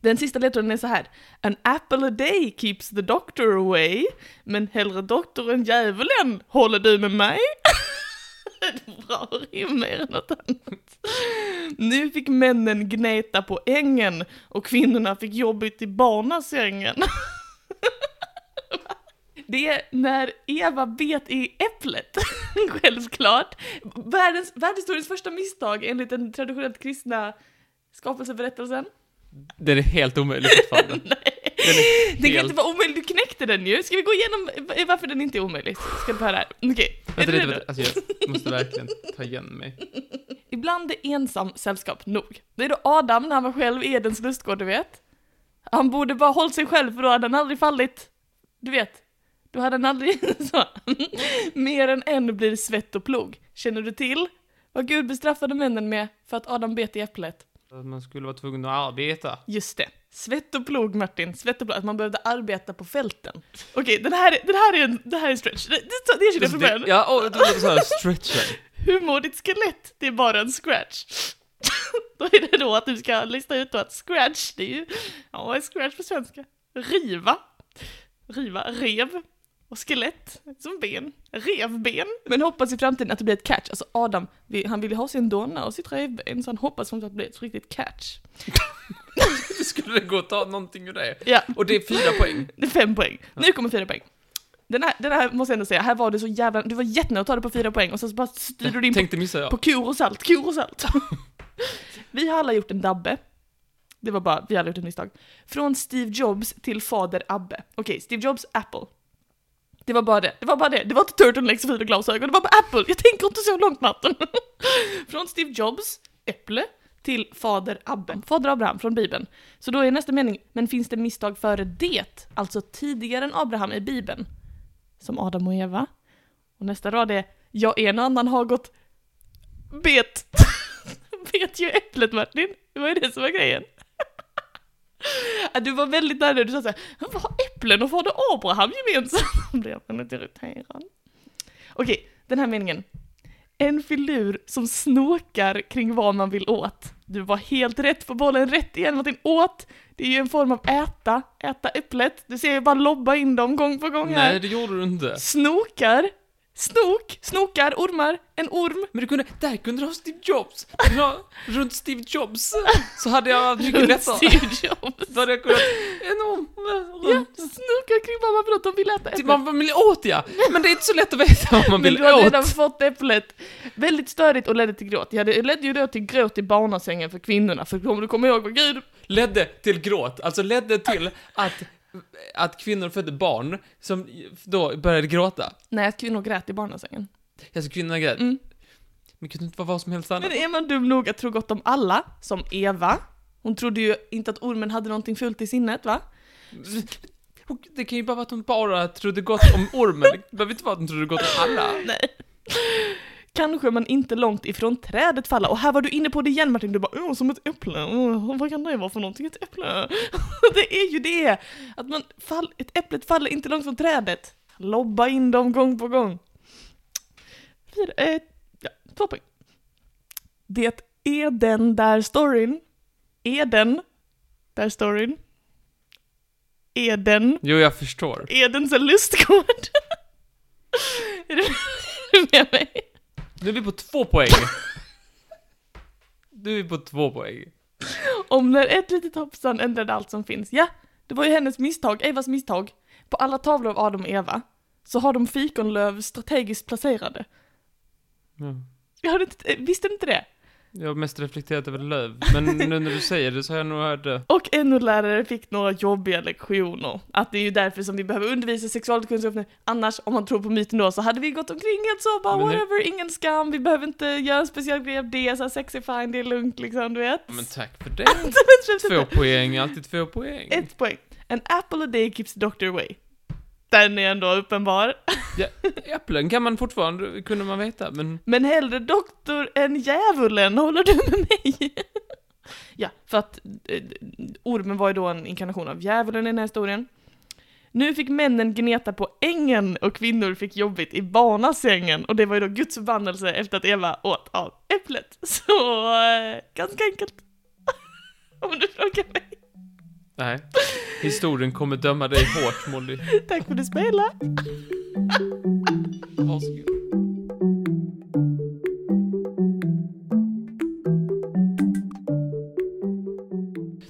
B: Den sista ledtråden är så här. An apple a day keeps the doctor away, men hellre doktor än djävulen. Håller du med mig? <laughs> Ett bra rim mer än något annat. Nu fick männen gneta på ängen och kvinnorna fick jobbigt i barnasängen. Det är när Eva bet i äpplet, <laughs> självklart. Världens, världshistoriens första misstag enligt den traditionellt kristna skapelseberättelsen. <laughs>
C: Den är helt omöjlig fortfarande. Den är
B: Det kan
C: helt-
B: inte vara omöjligt, du knäckte den ju! Ska vi gå igenom v- varför den inte är omöjlig? Ska du få höra här. Okej, är du
C: Vänta lite,
B: redo?
C: vänta. Alltså jag måste verkligen ta igen mig.
B: Ibland är ensam sällskap nog. Det är då Adam när han var själv i Edens lustgård, du vet. Han borde bara hållit sig själv för då hade han aldrig fallit. Du vet. Då hade han aldrig <laughs> så. Mer än en blir svett och plog. Känner du till vad Gud bestraffade männen med för att Adam bet i äpplet?
C: Att man skulle vara tvungen att arbeta.
B: Just det. Svett och plog, Martin. Svett och plog. Att man behövde arbeta på fälten. Okej, den här, är- den här är en det här är en stretch. Det, det, Alltså, det erkänner
C: Alltså,
B: jag från början.
C: Ja, och då så här stretchen.
B: Hur mår ditt skelett? Det är bara en scratch. <laughs> då är det då att du ska lista ut då att scratch, det är ju, ja vad är scratch på svenska? Riva. Riva, rev. Och skelett, som ben. Revben. Men hoppas i framtiden att det blir ett catch. Alltså Adam, vi- han vill ju ha sin donna och sitt revben, så han hoppas som sagt att det blir ett riktigt catch.
C: <laughs> Det skulle det gå att ta någonting ur det.
B: Ja,
C: Och det är
B: <laughs>
C: fyra poäng.
B: det är fem poäng. Nu kommer fyra poäng. Den här, den här måste jag ändå säga, här var du så jävla, du var jättenära att ta det på fyra poäng och sen så bara styrde du in på
C: Tänkte missa jag.
B: På kur och salt, kur och salt. vi har alla gjort en dabbe. Det var bara, vi har alla gjort ett misstag. Från Steve Jobs till fader Abbe. Okej, Steve Jobs, Apple. Det var bara det, det var bara det. Det var inte turtlenecks och fiberglasögon, det var bara Apple. Jag tänker inte så långt Martin. <laughs> från Steve Jobs, äpple, till fader Abbe. Fader Abraham från Bibeln. Så då är nästa mening, men finns det misstag före det? Alltså tidigare än Abraham i Bibeln. Som Adam och Eva. Och nästa rad är, jag en och annan har gått bet. <laughs> bet ju äpplet Martin. Det var ju det som var grejen. <laughs> Ja, Du var väldigt nära, du sa såhär, vad har äpplen och fader Abraham gemensamt? <laughs> Då blev jag väldigt irriterad. Okej, den här meningen. En filur som snokar kring vad man vill åt. Du var helt rätt på bollen, rätt igen Martin. Åt, det är ju en form av äta, äta äpplet. Du ser ju bara lobba in dem gång på gång här.
C: Nej, det gjorde du inte.
B: Snokar, snok, snokar, ormar, en orm.
C: Men du kunde, där kunde du ha Steve Jobs. Du kunde ha, runt Steve Jobs så hade jag haft mycket lättare.
B: Steve Jobs.
C: Då hade jag kunnat, enorm,
B: <laughs> Ja,
C: runt.
B: snokar kring mamma för att de vill äta
C: Till
B: äpplet.
C: vad man vill åt ja. Men det är inte så lätt att veta vad man
B: Men
C: vill
B: du hade
C: åt.
B: redan fått äpplet. Väldigt störigt och ledde till gråt. Ja, det ledde ju då till gråt i barnasängen för kvinnorna, för om du kommer ihåg vad Gud...
C: Ledde till gråt, alltså ledde till att, att kvinnor födde barn som då började gråta.
B: Nej, att kvinnor grät i barnasängen.
C: Alltså kvinnorna grät.
B: Mm.
C: Men kunde inte vara vad som helst annat?
B: Men är man dum nog att tro gott om alla, som Eva, hon trodde ju inte att ormen hade någonting fult i sinnet, va?
C: Och Det kan ju bara vara att hon bara trodde gott om ormen. Det behöver inte vara att hon trodde gott om alla.
B: Nej. Kanske man inte långt ifrån trädet falla. Och här var du inne på det igen Martin, du bara åh som ett äpple, åh, vad kan det vara för någonting, ett äpple? <laughs> det är ju det! Att man fall, ett äpplet faller inte långt från trädet. Lobba in dem gång på gång. Fyra, eh, ja, två poäng. Det är den där storyn. Är den där storyn. Är den.
C: Jo, jag förstår.
B: Edens lustgård. är du är du med mig?
C: Nu är vi på två poäng. Nu är vi på två poäng.
B: Om när ett litet hoppsan ändrade allt som finns. Ja, det var ju hennes misstag, Evas misstag. På alla tavlor av Adam och Eva så har de fikonlöv strategiskt placerade.
C: Ja.
B: Jag hade inte, eh, visste inte det?
C: Jag har mest reflekterat över löv, men nu när du säger det så har jag nog hört det.
B: Och NO-lärare fick några jobbiga lektioner. Att det är ju därför som vi behöver undervisa i sexualkunskap nu. Annars, om man tror på myten då, så hade vi gått omkring helt så bara
C: Men nu-
B: whatever, ingen skam, vi behöver inte göra en speciell grej av det, så här, sex är fine, det är lugnt liksom, du vet.
C: Ja, Men tack <laughs> för det.
B: Men typ
C: Två
B: inte.
C: poäng, alltid två poäng.
B: Ett poäng. An apple a day keeps the doctor away. Den är ändå uppenbar.
C: Ja, äpplen kan man fortfarande, kunde man veta, men
B: Men hellre doktor än djävulen, håller du med mig? <laughs> ja, för att eh, ormen var ju då en inkarnation av djävulen i den här historien. Nu fick männen gneta på ängen och kvinnor fick jobbigt i barnasängen och det var ju då Guds förbannelse efter att Eva åt av äpplet. <laughs> Så eh, ganska enkelt. <laughs> Om du frågar mig.
C: nej. Historien kommer döma dig hårt, Molly.
B: Tack för att du spelade.
C: Varsågod.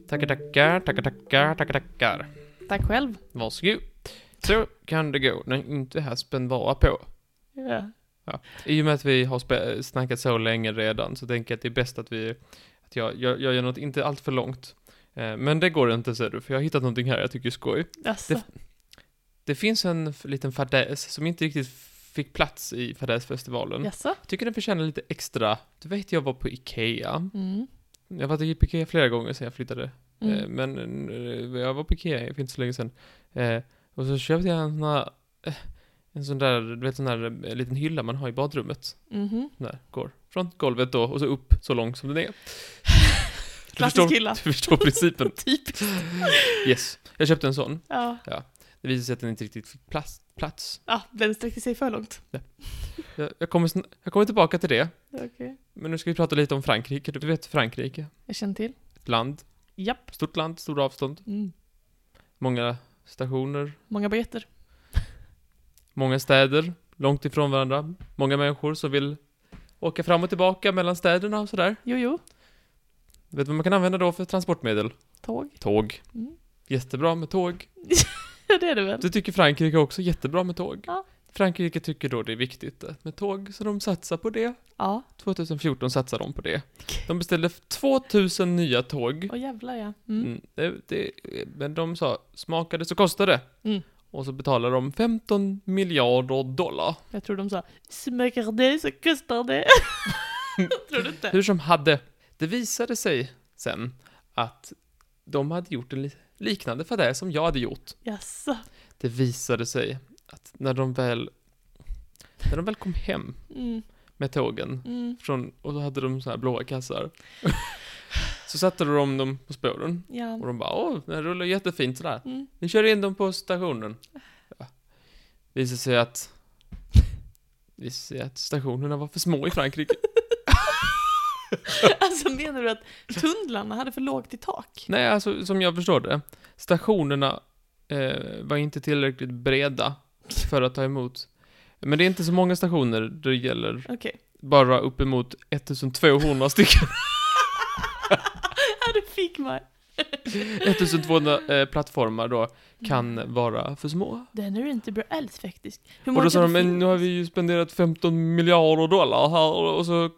C: Tackar, tackar, tackar, tackar, tackar, tackar.
B: Tack själv.
C: Varsågod. Så kan det gå när inte haspen vara på.
B: Ja.
C: Ja. I och med att vi har spe- snackat så länge redan så tänker jag att det är bäst att vi, att jag, jag, jag gör något inte allt för långt. Eh, Men det går inte ser du, för jag har hittat någonting här jag tycker är skoj.
B: Alltså.
C: Det- Det finns en f- liten fadäs som inte riktigt fick plats i fadäsfestivalen.
B: Jaså?
C: Jag tycker den förtjänar lite extra. Du vet, jag var på Ikea.
B: Mm.
C: Jag har varit på Ikea flera gånger sedan jag flyttade.
B: Mm.
C: Eh, Men eh, jag var på Ikea för inte så länge sedan. Eh, Och så köpte jag en sån här, eh, en sån där, du vet, sån där eh, liten hylla man har i badrummet.
B: Mhm.
C: Där, går från golvet då och så upp så långt som den är. Du
B: <laughs> Klassisk
C: förstår-
B: hylla.
C: Du förstår principen.
B: <laughs> Typiskt.
C: Yes. Jag köpte en sån.
B: Ja.
C: Det visade sig att den inte riktigt fick plats. plats.
B: Ja, den sträckte sig för långt.
C: Jag, jag, kommer, sn- jag kommer tillbaka till det.
B: Okej.
C: Men nu ska vi prata lite om Frankrike. Du vet Frankrike?
B: Jag känner till.
C: Ett land.
B: Japp.
C: Stort land, stora avstånd.
B: Mm.
C: Många stationer.
B: Många biljetter.
C: Många städer. Långt ifrån varandra. Många människor som vill åka fram och tillbaka mellan städerna och sådär.
B: Jo, jo.
C: Vet du vad man kan använda då för transportmedel?
B: Tåg.
C: Tåg.
B: Mm.
C: Jättebra med tåg.
B: <laughs> Ja, det är det väl?
C: Det tycker Frankrike också jättebra med tåg.
B: Ja.
C: Frankrike tycker då det är viktigt eh, med tåg, så de satsar på det.
B: Ja.
C: 2014 satsar de på det. De beställde 2000 nya tåg.
B: Åh jävlar ja. Mm.
C: Mm, det, det, men de sa, smakade så kostade det.
B: Mm.
C: Och så betalade de 15 miljarder dollar.
B: Jag tror de sa smäcker det så kostar <laughs> det. tror du inte?
C: Hur som hade, det visade sig sen att de hade gjort en li- liknande fadäs som jag hade gjort.
B: Jaså?
C: Det visade sig att när de väl, när de väl kom hem
B: Mm.
C: med tågen
B: Mm.
C: från, och då hade de så här blåa kassar. så satte de dem på spåren. Och
B: Ja.
C: de bara, åh, den rullar jättefint sådär.
B: Mm. <laughs>
C: Ni kör in dem på stationen. Ja. Visar sig att... Visar sig att stationerna var för små i Frankrike.
B: Alltså menar du att tunnlarna hade för lågt i
C: <laughs>
B: tak? <laughs>
C: Nej, alltså som jag förstår det. Stationerna eh, var inte tillräckligt breda för att ta emot. Men det är inte så många stationer det gäller.
B: Okej.
C: Bara uppemot 1200 <laughs> stycken.
B: ja, du fick mig.
C: 1200 eh, plattformar då kan vara för små.
B: Den är inte bra alls faktiskt. Hur
C: Och då
B: Mm. många
C: sa de,
B: kan det
C: men nu har vi ju spenderat 15 miljarder dollar här och så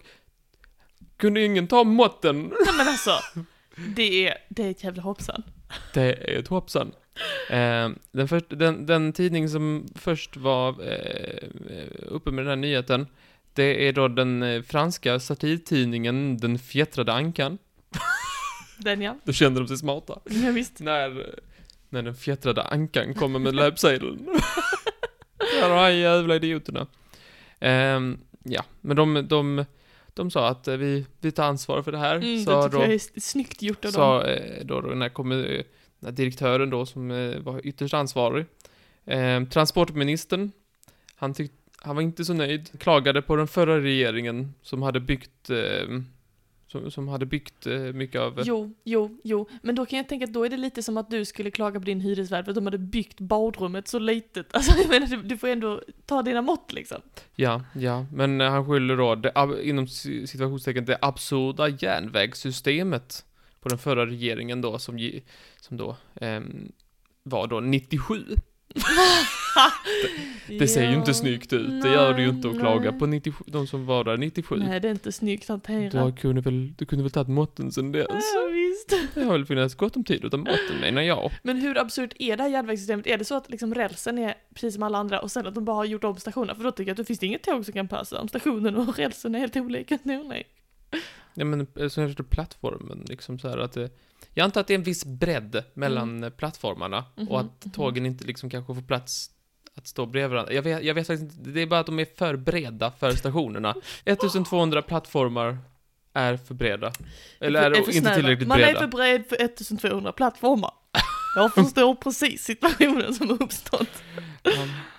C: kunde ingen ta måtten.
B: finnas?" <laughs> Nej men alltså. Det är, det är ett jävla hoppsan.
C: Det är ett hoppsan. Eh, den, först, den, den tidning som först var eh, uppe med den här nyheten, det är då den eh, franska satirtidningen Den fjättrade ankan.
B: Den ja.
C: Då kände de sig smarta.
B: Ja, visst.
C: När, när den fjättrade ankan kommer med <laughs> löpsedeln. ja, de här jävla idioterna. Ehm, ja, men de, de, de sa att eh, vi, vi tar ansvar för det här.
B: Mm, det
C: sa
B: tycker
C: då,
B: jag är s- snyggt gjort av dem.
C: sa, eh, då, då den här kommer, eh, den här direktören då som eh, var ytterst ansvarig. Ehm, transportministern, han, tyck, han var inte så nöjd. Klagade på den förra regeringen som hade byggt, eh, som, som hade byggt eh, mycket av...
B: Jo, jo, jo. Men då kan jag tänka att då är det lite som att du skulle klaga på din hyresvärd för att de hade byggt badrummet så litet. <laughs> Alltså jag menar, du, du får ändå ta dina mått liksom.
C: Ja, ja, men eh, han skyller då det, ab- inom ci- situationstecken det absurda järnvägssystemet på den förra regeringen då som, ge- som då ehm, var då 97 <laughs> Det ser ju inte snyggt ut, det gör det ju inte att klaga på 97, de som var där 97.
B: Nej, det är inte snyggt hanterat.
C: Du har- kunde väl, du kunde väl tagit måtten sen dess?
B: Ja, visst.
C: Det har väl funnits gott om tid att ta måtten menar jag.
B: Men hur absurt är det här järnvägssystemet? Är det så att liksom rälsen är precis som alla andra och sen att de bara har gjort om stationerna? För då tycker jag att det finns inget tåg som kan passa om stationen och rälsen är helt olika. Nej, nej.
C: Ja men eh, så är det plattformen liksom så här att det, jag antar att det är en viss bredd mellan eh, plattformarna
B: Mm. Mhm,
C: och att tågen inte liksom kanske får plats att stå bredvid varandra. Jag vet, jag vet faktiskt inte, det är bara att de är för breda för
B: <laughs>
C: stationerna. 1200 plattformar är för breda. Eller är,
B: För- för
C: inte
B: snäva.
C: tillräckligt
B: Man
C: breda.
B: är för bred för 1200 plattformar. Jag förstår precis situationen som har uppstått.
C: Ja,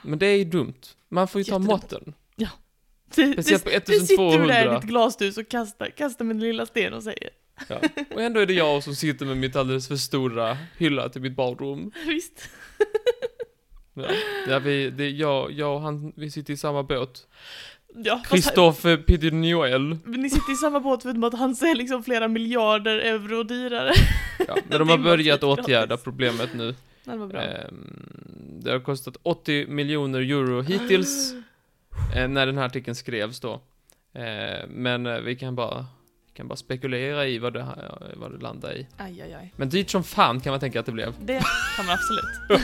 C: Men det är ju dumt. Man får ju ta
B: Jättedumt.
C: måtten.
B: Du, du,
C: Speciellt på
B: du sitter du där i
C: 1200.
B: ditt glashus och kastar, kastar med din lilla sten och säger
C: Ja. Och ändå är det jag som sitter med mitt alldeles för stora hylla till mitt badrum.
B: visst. <laughs>
C: Ja. Ja, vi, det, jag, jag och han, vi sitter i samma båt.
B: Ja, fast
C: Christophe
B: <laughs>
C: Pidinoel.
B: han- Ni sitter i samma båt förutom att han är liksom flera miljarder euro dyrare.
C: Ja, men de
B: Det
C: har
B: är
C: börjat
B: gratis.
C: åtgärda problemet nu.
B: Nej, Det var bra.
C: Eh. Ehm, Det har kostat 80 miljoner euro hittills, eh, när den här artikeln skrevs då. Eh, Men eh, vi kan bara, vi kan bara spekulera i vad det, här- vad det landar i.
B: Aj, aj, aj.
C: Men dyrt som fan kan man tänka att det blev.
B: Det kan man absolut.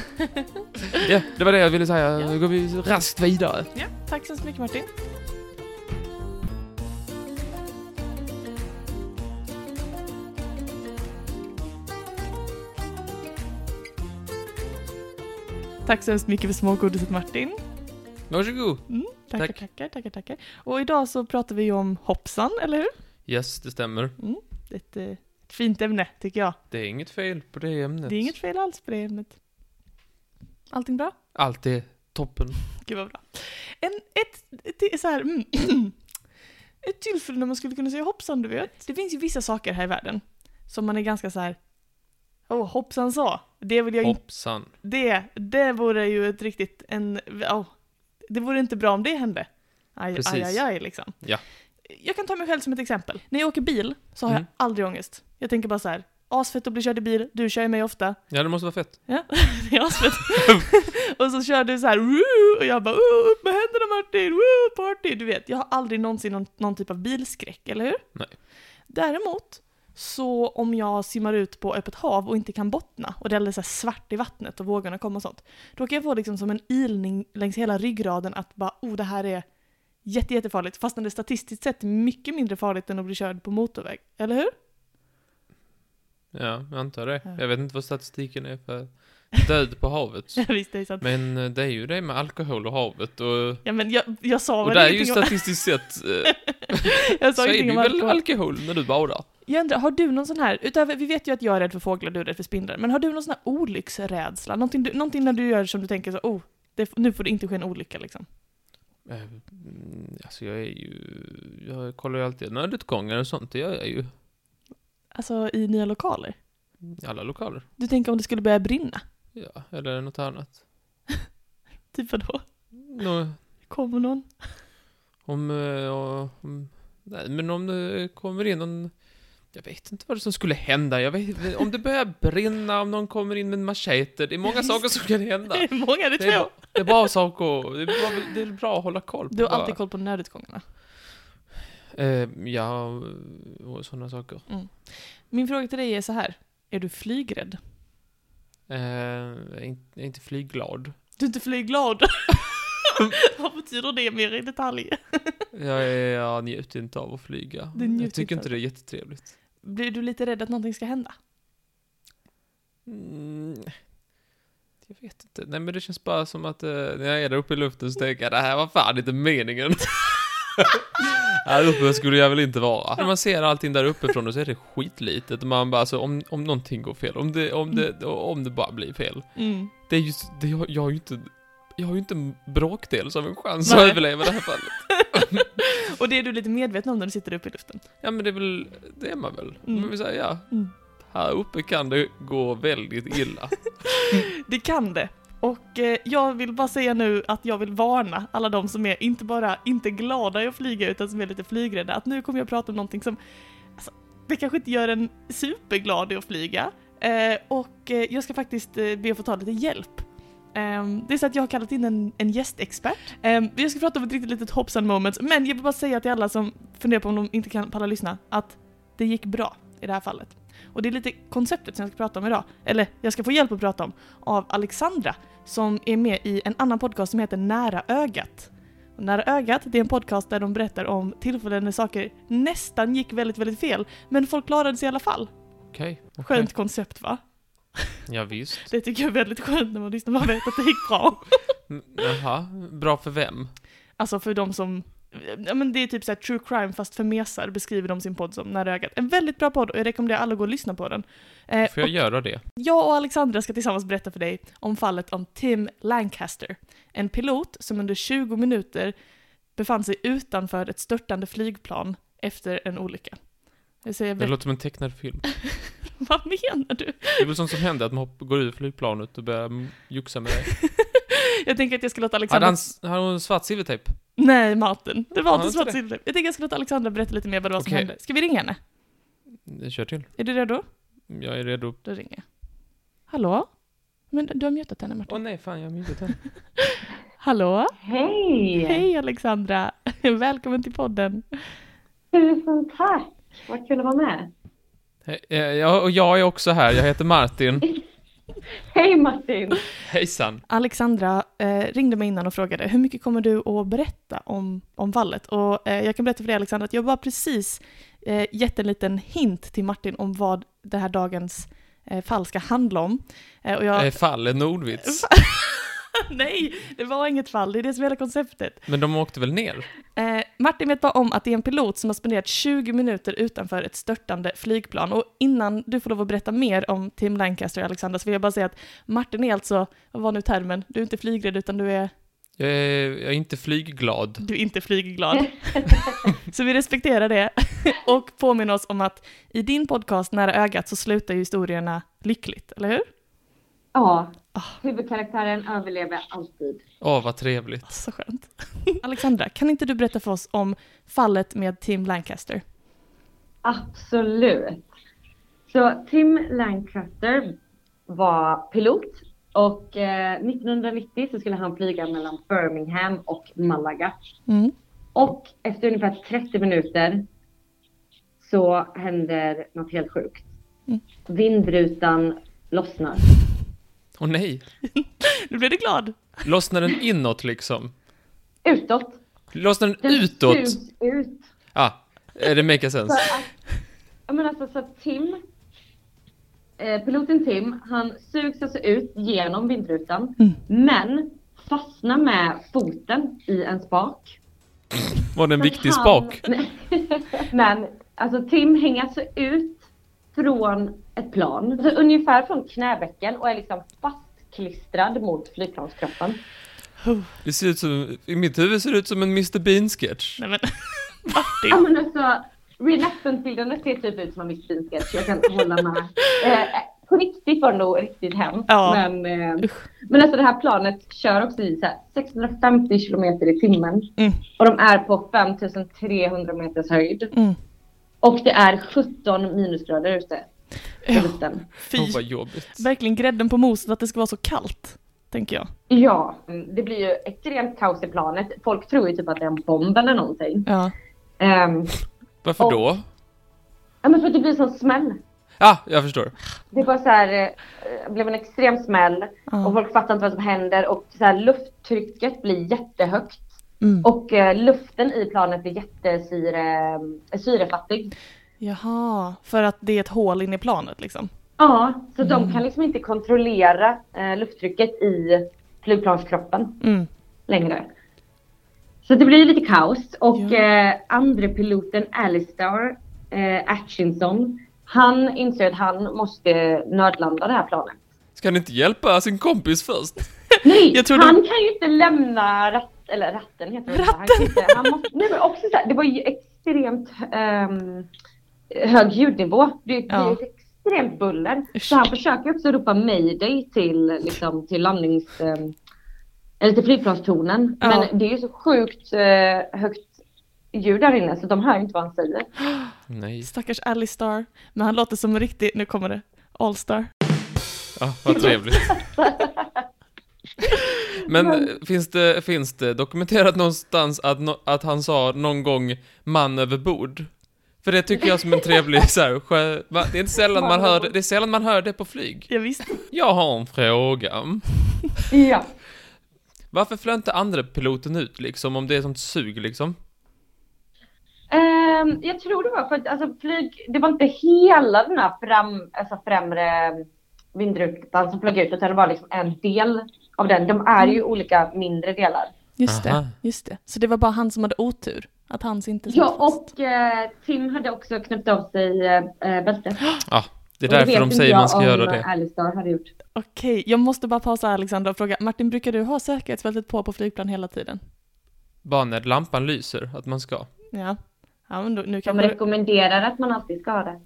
C: Ja, det var det jag ville säga.
B: Ja.
C: Nu går vi raskt vidare.
B: Ja, tack så mycket Martin. Tack så hemskt mycket för smågodiset Martin.
C: Varsågod.
B: Mm, tackar,
C: Tack.
B: tackar, tackar, tackar. Och idag så pratar vi ju om hoppsan, eller hur?
C: Yes, det stämmer.
B: Ett, eh, ett fint ämne, tycker jag.
C: Det är inget fel på det ämnet.
B: Det är inget fel alls på det ämnet. Allting bra?
C: Allt är toppen.
B: Gud vad bra. En, ett, ett, till- så här, mm, <clears throat> ett tillfälle när man skulle kunna säga hoppsan, du vet. Det finns ju vissa saker här i världen som man är ganska så här. Åh, hoppsan sa. Det vill jag inte.
C: Hoppsan.
B: Det, det vore ju ett riktigt, en, åh, det vore inte bra om det hände. Aj,
C: Precis.
B: aj, aj, aj liksom.
C: Ja.
B: Jag kan ta mig själv som ett exempel. När jag åker bil så har
C: Mm.
B: jag aldrig ångest. Jag tänker bara så här, asfett att bli körd i bil, du kör ju mig ofta.
C: Ja, det måste vara fett.
B: Ja, det är asfett. <laughs> och så kör du så här, "Woo!" och jag bara "Woo, upp med händerna Martin, Woo, party! Du vet, jag har aldrig någonsin någon, någon typ av bilskräck, eller hur?
C: Nej.
B: Däremot, så om jag simmar ut på öppet hav och inte kan bottna och det är alldeles så här svart i vattnet och vågorna kommer och sånt, då kan jag få liksom som en ilning längs hela ryggraden att bara oh det här är jätte, jättefarligt, fastän det statistiskt sett är mycket mindre farligt än att bli körd på motorväg, eller
C: <laughs>
B: hur?
C: Ja, jag antar det.
B: Ja.
C: Jag vet inte vad statistiken är för död på havet.
B: <laughs> Ja, visst, det är sant.
C: Men eh, det är ju det med alkohol och havet och...
B: Ja, men jag, jag sa
C: Och
B: väl
C: där är ju
B: ingenting om,
C: statistiskt
B: <laughs>
C: sett, eh,
B: jag
C: så
B: sa
C: är det
B: ingenting
C: ju
B: om
C: väl
B: alkohol.
C: alkohol när du badar.
B: Jag undrar, har du någon sån här, utöver, vi vet ju att jag är rädd för fåglar, du är rädd för spindlar, men har du någon sån här olycksrädsla? Någonting, du, någonting när du gör som du tänker så, oh, det, nu får det inte ske en olycka liksom.
C: Eh, mm, Alltså jag är ju, jag kollar ju alltid nödutgångar och sånt, det gör jag ju.
B: Alltså i nya lokaler.
C: I alla lokaler.
B: Du tänker om det skulle börja brinna?
C: Ja, eller något annat.
B: Typ vadå?
C: Nå,
B: Kommer någon?
C: om, eh, om, nej men om det kommer in någon, jag vet inte vad det som skulle hända, jag vet om det börjar brinna, om någon kommer in med en machete, det är många saker som kan hända.
B: <laughs> <laughs> Det är många, det
C: Det
B: tror
C: är, bra, det är bra saker, det är bra, det är bra att hålla koll på.
B: Du har
C: bara.
B: alltid koll på nödutgångarna.
C: Eh, ja, och- och sådana saker.
B: Min fråga till dig är så här, är du flygrädd?
C: Eh, jag är inte- jag är inte flygglad.
B: Du är inte flygglad? <laughs> Vad betyder det mer i detalj?
C: Jag, är, jag njuter inte av att flyga.
B: Du njuter
C: jag
B: inte
C: tycker
B: av
C: inte det är jättetrevligt.
B: Blir du lite rädd att någonting ska hända?
C: Mm, jag vet inte. Nej men det känns bara som att eh, när jag är där uppe i luften så tänker jag det här var fan inte meningen. <laughs> här uppe skulle jag väl inte vara. När man ser allting där uppifrån och så är det skitlitet. Och man bara alltså om, om någonting går fel, om det, om, det, om det bara blir fel.
B: Mm.
C: Det är just, det, jag, jag har ju inte, jag har ju inte en bråkdel som en chans
B: Nej.
C: att överleva det här <laughs> fallet.
B: <laughs> Och det är du lite medveten om när du sitter uppe i luften?
C: Ja men det är väl, det är man väl.
B: Mm.
C: Men vi säger ja,
B: Mm.
C: här uppe kan det gå väldigt illa.
B: Det kan det. Och eh, jag vill bara säga nu att jag vill varna alla de som är inte bara inte glada i att flyga utan som är lite flygrädda att nu kommer jag prata om någonting som alltså, det kanske inte gör en superglad i att flyga. Eh, och eh, jag ska faktiskt eh, be att få ta lite hjälp. Ehm, det är så att jag har kallat in en, en gästexpert. Ehm, jag ska prata om ett riktigt litet hoppsan moment, men jag vill bara säga till alla som funderar på om de inte kan palla lyssna att det gick bra i det här fallet. Och det är lite konceptet som jag ska prata om idag, eller jag ska få hjälp att prata om, av Alexandra som är med i en annan podcast som heter Nära ögat. Och Nära ögat, det är en podcast där de berättar om tillfällen när saker nästan gick väldigt, väldigt fel, men folk klarade sig i alla fall.
C: <laughs> Okej. Okay.
B: Skönt koncept va?
C: Ja, visst.
B: Det tycker jag är väldigt skönt när man lyssnar, man vet att det gick bra.
C: Mm, Jaha, bra för vem?
B: Alltså för de som, ja men det är typ såhär true crime fast för mesar beskriver de sin podd som Nära ögat. En väldigt bra podd och jag rekommenderar alla att gå och lyssna på den. Eh,
C: Får jag göra det?
B: jag och Alexandra ska tillsammans berätta för dig om fallet om Tim Lancaster, en pilot som under 20 minuter befann sig utanför ett störtande flygplan efter en olycka. Jag säger,
C: Det
B: vet,
C: låter som en tecknad film.
B: vad menar du?
C: Det är väl sånt som händer, att man hopp- går ur flygplanet och börjar mm, joxa med det.
B: Jag tänker att jag ska låta
C: Hade
B: Alexandra...
C: han, hade hon svart silvertejp?
B: Nej, Martin. Det var
C: Ja,
B: inte
C: inte
B: svart
C: det.
B: silver. Jag tänker att jag ska låta Alexandra berätta lite mer vad det var som
C: Okej.
B: hände. Ska vi ringa henne?
C: Kör till.
B: Är du redo?
C: Jag är redo.
B: Då ringer jag. Hallå? Men du har mutat henne Martin.
C: Åh nej, fan jag har mutat den.
B: Hallå?
A: Hej!
B: Hej Alexandra! <laughs> Välkommen till podden.
A: Tusen tack! Vad kul att vara med.
C: Hej, eh, jag- Och jag är också här, jag heter Martin.
A: Hej Martin!
C: Hejsan.
B: Alexandra eh, ringde mig innan och frågade hur mycket kommer du att berätta om, om fallet? Och eh, jag kan berätta för dig Alexandra att jag bara precis eh, gett en liten hint till Martin om vad den här dagens eh, fall ska handla om. Eh, och jag, <laughs>
C: Eh, Fallet Nordvits.
B: nej, det var inget fall, det är det som är hela konceptet.
C: Men de åkte väl ner?
B: Eh, Martin vet bara om att det är en pilot som har spenderat 20 minuter utanför ett störtande flygplan. Och innan du får lov att berätta mer om Tim Lancaster och Alexandra så vill jag bara säga att Martin är alltså, vad var nu termen, du är inte flygrädd utan du är,
C: Jag är, jag är inte flygglad.
B: du är inte <laughs> flygglad. så vi respekterar det <laughs> och påminner oss om att i din podcast Nära ögat så slutar ju historierna lyckligt, eller hur?
A: Ja, huvudkaraktären överlever alltid.
C: Åh, vad trevligt.
B: Åh, Ah, Så skönt. <laughs> Alexandra, kan inte du berätta för oss om fallet med Tim Lancaster?
A: Absolut. Så Tim Lancaster var pilot och eh, 1990 så skulle han flyga mellan Birmingham och Malaga.
B: Mm.
A: Och efter ungefär 30 minuter så händer något helt sjukt.
B: Mm.
A: Vindrutan lossnar.
C: Åh nej.
B: Nu blev du glad.
C: Lossnar den inåt liksom?
A: Utåt.
C: Lossnar den
A: Den
C: utåt?
A: sugs ut.
C: Ah, eh, det make sense.
A: För att, jag menar alltså, så att Tim, eh, piloten Tim, han sugs alltså ut genom vindrutan,
B: Mm.
A: men fastnar med foten i en spak.
C: Var det en
A: Men
C: viktig
A: han-
C: spak?
A: <laughs> men alltså Tim hänger alltså ut från ett plan, alltså, ungefär från knäbäcken och är liksom fastklistrad mot flygplanskroppen.
C: Det ser ut som, i mitt huvud ser det ut som en Mr Bean-sketch.
B: Nej men, <laughs>
A: Ja
B: Martin.
A: men alltså, reenactment-bilderna ser typ ut som en Miss Bean-sketch, jag kan hålla med. Eh, på riktigt var det nog riktigt hemskt.
B: Ja.
A: Men, eh, men alltså det här planet kör också i så här 650 kilometer i timmen.
B: Mm.
A: Och de är på 5300 meters höjd.
B: Mm.
A: Och det är 17 minusgrader ute i
B: Ja.
A: luften.
B: Fy,
C: Åh, vad jobbigt.
B: verkligen grädden på moset att det ska vara så kallt, tänker jag.
A: Ja, mm, det blir ju extremt kaos i planet. Folk tror ju typ att det är en bomb eller någonting.
B: Ja.
A: Ehm,
C: Varför
A: Och-
C: då?
A: ja men för att det blir sån smäll.
C: Ah, jag förstår.
A: Det bara så här, eh, det blev en extrem smäll. Och folk fattar inte vad som händer och så här, lufttrycket blir jättehögt.
B: Mm.
A: Och eh, luften i planet blir jättesyre, eh, syrefattig.
B: Jaha, för att det är ett hål inne i planet liksom.
A: Ja, så
B: Mm.
A: de kan liksom inte kontrollera eh, lufttrycket i flygplanskroppen
B: Mm.
A: längre. Så det blir lite kaos och
B: Ja.
A: eh, andre piloten Alistair eh, Atchinson, han insåg att han måste nödlanda det här planet.
C: Ska han inte hjälpa sin kompis först?
A: Nej,
B: Jag tror
A: han kan ju inte lämna ratt, eller ratten heter det. Ratten. Han kan inte, han måste, nej, men också så här, det var ju extremt ehm, hög ljudnivå. Det, det
B: Ja.
A: är ett extremt buller.
B: Usch.
A: Så han försöker också ropa mayday till, liksom, till landnings... ehm, eller till flygplanstornen.
B: Ja.
A: Men det är ju så sjukt eh, högt ljud där inne så de hör ju inte vad han
B: <laughs>
A: säger.
C: Nej.
B: Stackars Alistar. Men han låter som en riktig, nu kommer det, Allstar.
C: Ah, vad trevligt. Men eh, finns det, finns det dokumenterat någonstans att, nå- att han sa någon gång man över bord? För det tycker jag som en trevlig så här, sjö, va? Det är inte sällan man hör det, det är sällan man hör det på flyg.
B: Jag visste.
C: Jag har en fråga.
A: Ja.
C: Varför flög inte andra piloten ut liksom, om det är sånt sug liksom?
A: Ehm, jag tror det var för att alltså, flyg, det var inte hela den här fram, alltså, främre vindrutan som flög ut utan det var liksom en del av den. De är
B: Mm.
A: ju olika mindre delar.
B: Just
C: Aha.
B: det, just det. Så det var bara han som hade otur? Att hans inte
A: Ja
B: satt fast.
A: och eh, Tim hade också knäppt av sig eh, eh, <gasps> bältet.
C: Ja, det är
A: Och det vet
C: därför de
A: inte
C: säger
A: jag
C: man ska
A: om
C: göra det.
A: Alistair hade gjort.
B: Okej, jag måste bara pausa här, Alexandra och fråga. Martin, brukar du ha säkerhetsbältet på på flygplan hela tiden?
C: Bara när lampan lyser, att man ska.
B: Ja. Ja, men då, nu kan
A: De
B: du...
A: rekommenderar att man alltid ska ha det.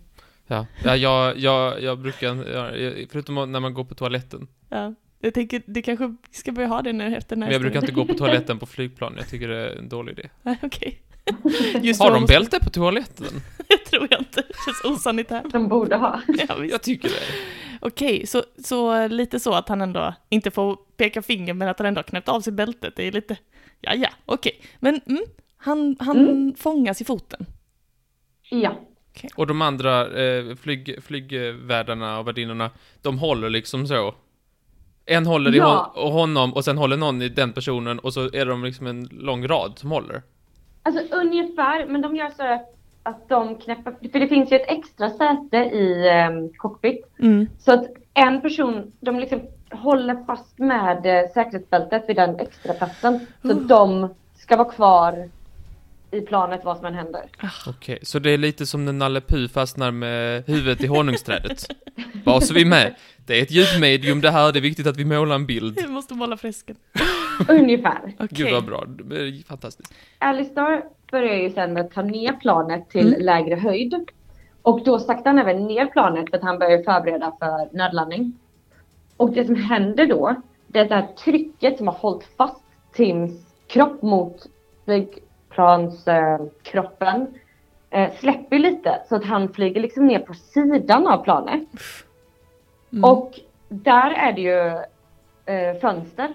C: Ja, ja jag, jag, jag brukar, jag, förutom när man går på toaletten.
B: Ja. Jag tänker, det kanske ska börja ha det nu efter den här
C: Men jag
B: <laughs>
C: brukar
B: historien.
C: inte gå på toaletten på flygplan, jag tycker det är en dålig idé.
B: Nej,
C: <laughs>
B: Okej. Just <laughs>
C: Har
B: då
C: de
B: måste-
C: bälte
A: <laughs>
C: på toaletten?
B: Det tror jag inte. Det känns
C: <laughs>
B: osanitärt.
A: De borde ha.
B: Ja, visst.
C: Jag tycker det.
B: Okej, så, så lite så att han ändå inte får peka finger men att han ändå har knäppt av sig bältet. Det är lite, ja ja, okej. Men mm, han, han fångas i foten.
A: <laughs> Ja.
C: Och de andra eh, flyg, flygvärdarna och värdinnorna, de håller liksom så. En håller i
A: Ja.
C: hon, och honom och sen håller någon i den personen och så är de liksom en lång rad som håller.
A: Alltså ungefär, men de gör så att, att de knäpper, för det finns ju ett extra säte i eh, cockpit.
B: Mm.
A: Så att en person, de liksom håller fast med eh, säkerhetsbältet vid den extra platsen. Så de ska vara kvar i planet vad som än händer.
C: Okej, så det är lite som när Nalle Puh fastnar med huvudet i honungsträdet. Bara så vi är med. Det är ett ljudmedium det här, det är viktigt att vi målar en bild.
B: <laughs> Jag måste måla fresken.
A: Ungefär.
B: Okej.
C: Gud vad bra, Det är fantastiskt.
A: Alistair börjar ju sen med att ta ner planet till lägre höjd. Och då saktar han även ner planet för att han börjar förbereda för nödlandning. Och det som händer då, det är det här trycket som har hållit fast Tims kropp mot flygplanskroppen. Eh, kroppen, eh, släpper lite så att han flyger liksom ner på sidan av planet.
B: Mm.
A: Och där är det ju eh, fönster.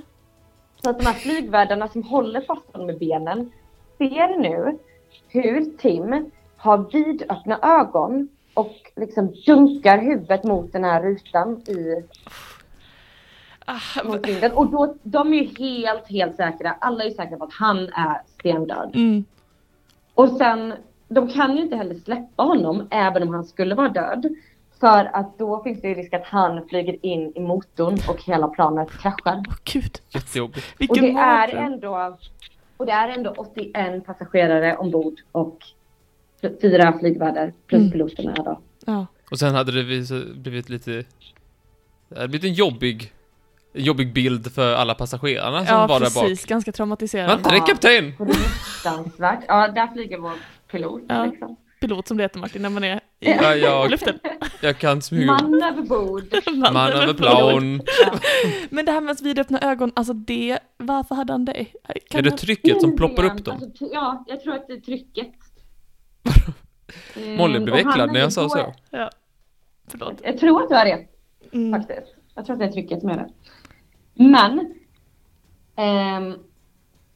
A: Så att de här flygvärdarna som håller fast honom med benen ser nu hur Tim har vidöppna ögon och liksom dunkar huvudet mot den här rutan i
B: Ah,
A: mot vinden. Och då, de är ju helt, helt säkra. Alla är säkra på att han är stendöd.
B: mm.
A: Och sen, de kan ju inte heller släppa honom även om han skulle vara död. För att då finns det ju risk att han flyger in i motorn och hela planet kraschar.
B: Åh, gud,
C: Jättejobbigt.
A: Och
B: vilken
A: det är
B: mardröm.
A: ändå, och det är ändå 81 passagerare ombord och fl- fyra flygvärdar plus
B: Mm.
A: piloterna då.
B: Ja.
C: Och sen hade det vis- blivit lite... Det hade blivit en jobbig... En jobbig bild för alla passagerarna som
B: ja,
C: var där bak.
B: precis. Ganska
C: Var
B: traumatiserande.
C: inte det
A: Ja.
C: kapten?
A: Fruktansvärt. Ja, där flyger vår pilot
B: Ja.
A: liksom.
B: Pilot som det heter, Martin, när man är i
C: Ja, jag,
B: luften.
C: jag kan smyga.
A: Man över bord.
C: <laughs> Man över plan.
B: Men det här med att vidöppna ögon, alltså det, varför hade han det? Kan
C: Är det
B: han-
C: trycket som ploppar upp
A: Alltså,
C: dem?
A: t- ja, jag tror att det är trycket. Mm,
C: <laughs> Molly blev
A: och han
C: äcklad när jag
A: hade
C: sa
A: då-
C: så.
B: Ja. Förlåt.
A: Jag tror att du har rätt
B: Mm.
A: faktiskt. Jag tror att det är trycket som är det. Men ehm,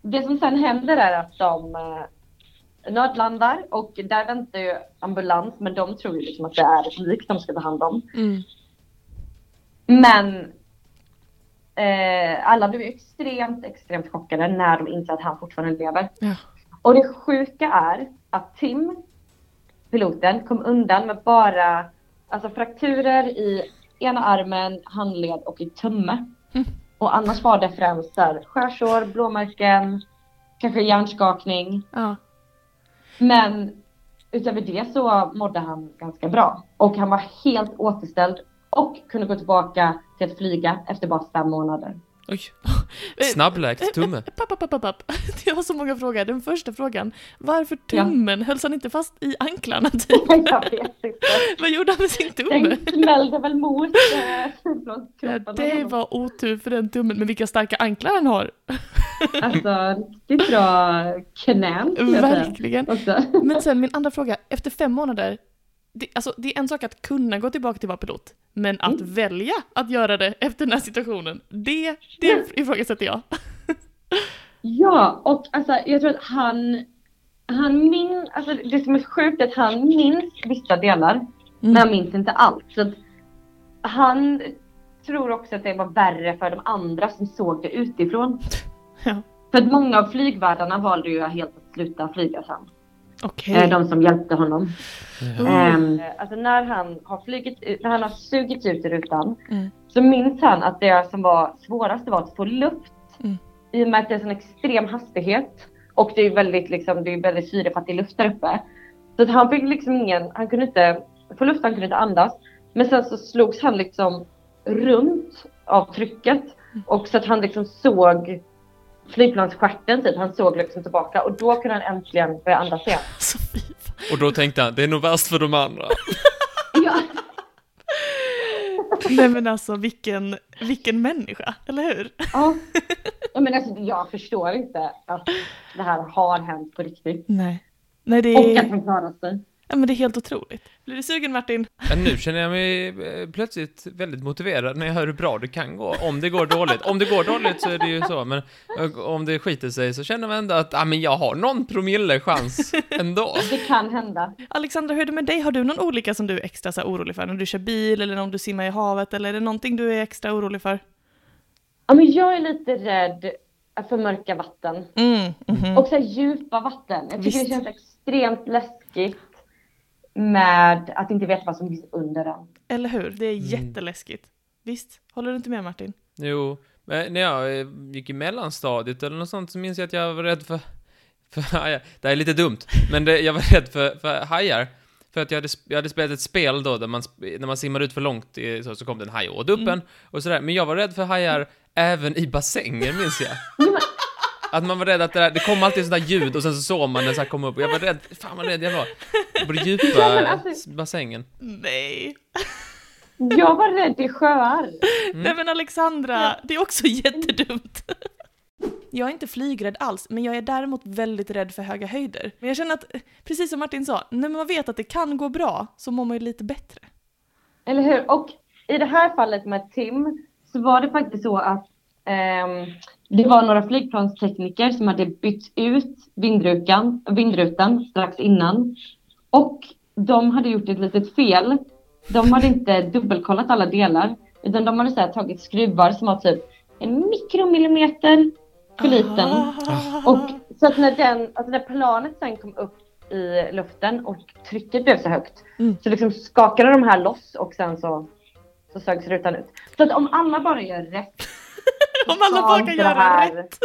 A: det som sen händer är att de eh, nödlandar och där väntar ju ambulans men de tror ju liksom att det är ett lik de ska ta hand om.
B: Mm.
A: Men eh, alla blev ju extremt, extremt chockade när de inser att han fortfarande lever.
B: Ja.
A: Och det sjuka är att Tim, piloten, kom undan med bara alltså, frakturer i ena armen, handled och i tumme.
B: Mm.
A: Och annars var det främst där, skärsår, blåmärken, kanske hjärnskakning.
B: ja.
A: Men utöver det så mådde han ganska bra. Och han var helt återställd och kunde gå tillbaka till att flyga efter bara fem månader. <laughs>
B: <laughs>
C: Oj.
B: Eh,
C: Snabbläkt tumme.
B: Papp, papp, papp, papp. <laughs> Jag har så många frågor. Den första frågan, varför tummen? Hölls han inte fast i anklarna typ?
A: Jag vet inte.
B: <laughs> Vad gjorde han med sin tumme?
A: Den smällde väl mot eh, <laughs>
B: Ja,
A: flygplanskroppen.
B: det var otur för den tummen, men vilka starka anklar han har.
A: Alltså riktigt bra knän skulle jag säga.
B: Verkligen.
A: Också.
B: Men sen min andra fråga, efter fem månader, det, alltså, det är en sak att kunna gå tillbaka till att vara pilot, men att välja att göra det efter den här situationen, det, det ifrågasätter jag.
A: Ja, och alltså, jag tror att han, han minns, alltså, det som är sjukt är att han minns vissa delar, men
B: Mm.
A: han minns inte allt. Så att han tror också att det var värre för de andra som såg det utifrån.
B: Ja.
A: För att många av flygvärdarna valde ju helt att sluta flyga sen.
B: Okej.
A: Eh, De som hjälpte honom.
B: Oh.
A: Ehm, alltså när han har flugit, ut- när han har sugits ut ur rutan
B: Mm.
A: så minns han att det som var svårast var att få luft.
B: Mm.
A: I och med att det är sån extrem hastighet och det är ju väldigt, liksom, det är väldigt syrefattig luft där uppe. Så att han fick liksom ingen, han kunde inte få luft, han kunde inte andas. Men sen så slogs han liksom runt av trycket
B: Mm.
A: och så att han liksom såg flygplansstjärten typ, han såg liksom tillbaka och då kunde han äntligen börja andas igen.
B: Så fy fan.
C: Och då tänkte han, det är nog värst för de andra.
A: Ja.
B: <laughs> Nej men alltså vilken, vilken människa, eller hur?
A: Ja. Ja, Men alltså, jag förstår inte att det här har hänt på riktigt.
B: Nej. Nej det
A: Och att
B: är,
A: han klarar sig.
B: ja, men det är helt otroligt. Blir du sugen Martin?
C: Ja, nu känner jag mig eh, plötsligt väldigt motiverad när jag hör hur bra det kan gå. Om det går dåligt. Om det går dåligt så är det ju så, men eh, om det skiter sig så känner man ändå att, ah, men jag har någon promille chans ändå.
A: Det kan hända.
B: Alexandra, hur är det med dig? Har du någon olycka som du är extra så här, orolig för? När du kör bil eller om du simmar i havet eller är det någonting du är extra orolig för?
A: Ja, men jag är lite rädd för mörka vatten.
B: Mm, mhm.
A: Och så här, djupa vatten. Jag tycker
B: Visst.
A: det känns extremt läskigt med att inte veta vad som finns under den.
B: Eller hur? Det är jätteläskigt. Visst? Håller du inte med Martin?
C: Jo, men när jag eh, gick i mellanstadiet eller något sånt så minns jag att jag var rädd för, för hajar. Det här är lite dumt, men det, jag var rädd för, för hajar. För att jag hade, sp- jag hade spelat ett spel då, där man, sp- när man simmade ut för långt i- så, så kom det en haj och åt upp
A: Mm.
C: en och sådär. Men jag var rädd för hajar även i bassänger, minns jag. Att man var rädd att det, där, det kom alltid sådana ljud och sen så såg man den så här komma upp och jag var rädd, fan vad rädd jag var. På
A: <laughs>
C: den
A: Ja, men
C: djupa
A: alltså-
C: s- bassängen.
B: Nej!
A: Jag var rädd i sjöar.
B: Nej men Alexandra, det är också <laughs> jättedumt. Jag är inte flygrädd alls, men jag är däremot väldigt rädd för höga höjder. Men jag känner att, precis som Martin sa, när man vet att det kan gå bra så mår man ju lite bättre.
A: Eller hur? Och i det här fallet med Tim så var det faktiskt så att ehm, det var några flygplanstekniker som hade bytt ut vindrutan, vindrutan strax innan. Och de hade gjort ett litet fel. De hade inte dubbelkollat alla delar utan de hade så här tagit skruvar som var typ en mikromillimeter för liten.
B: Ah.
A: Och så att när, den, alltså när planet sen kom upp i luften och trycket blev så högt
B: Mm.
A: så liksom skakade de här loss och sen så, så sögs rutan ut. Så att om alla bara gör
B: <laughs>
A: rätt.
B: Om alla
A: ska
B: bara
A: inte
B: kan
A: det
B: göra
A: här- <laughs>
B: rätt.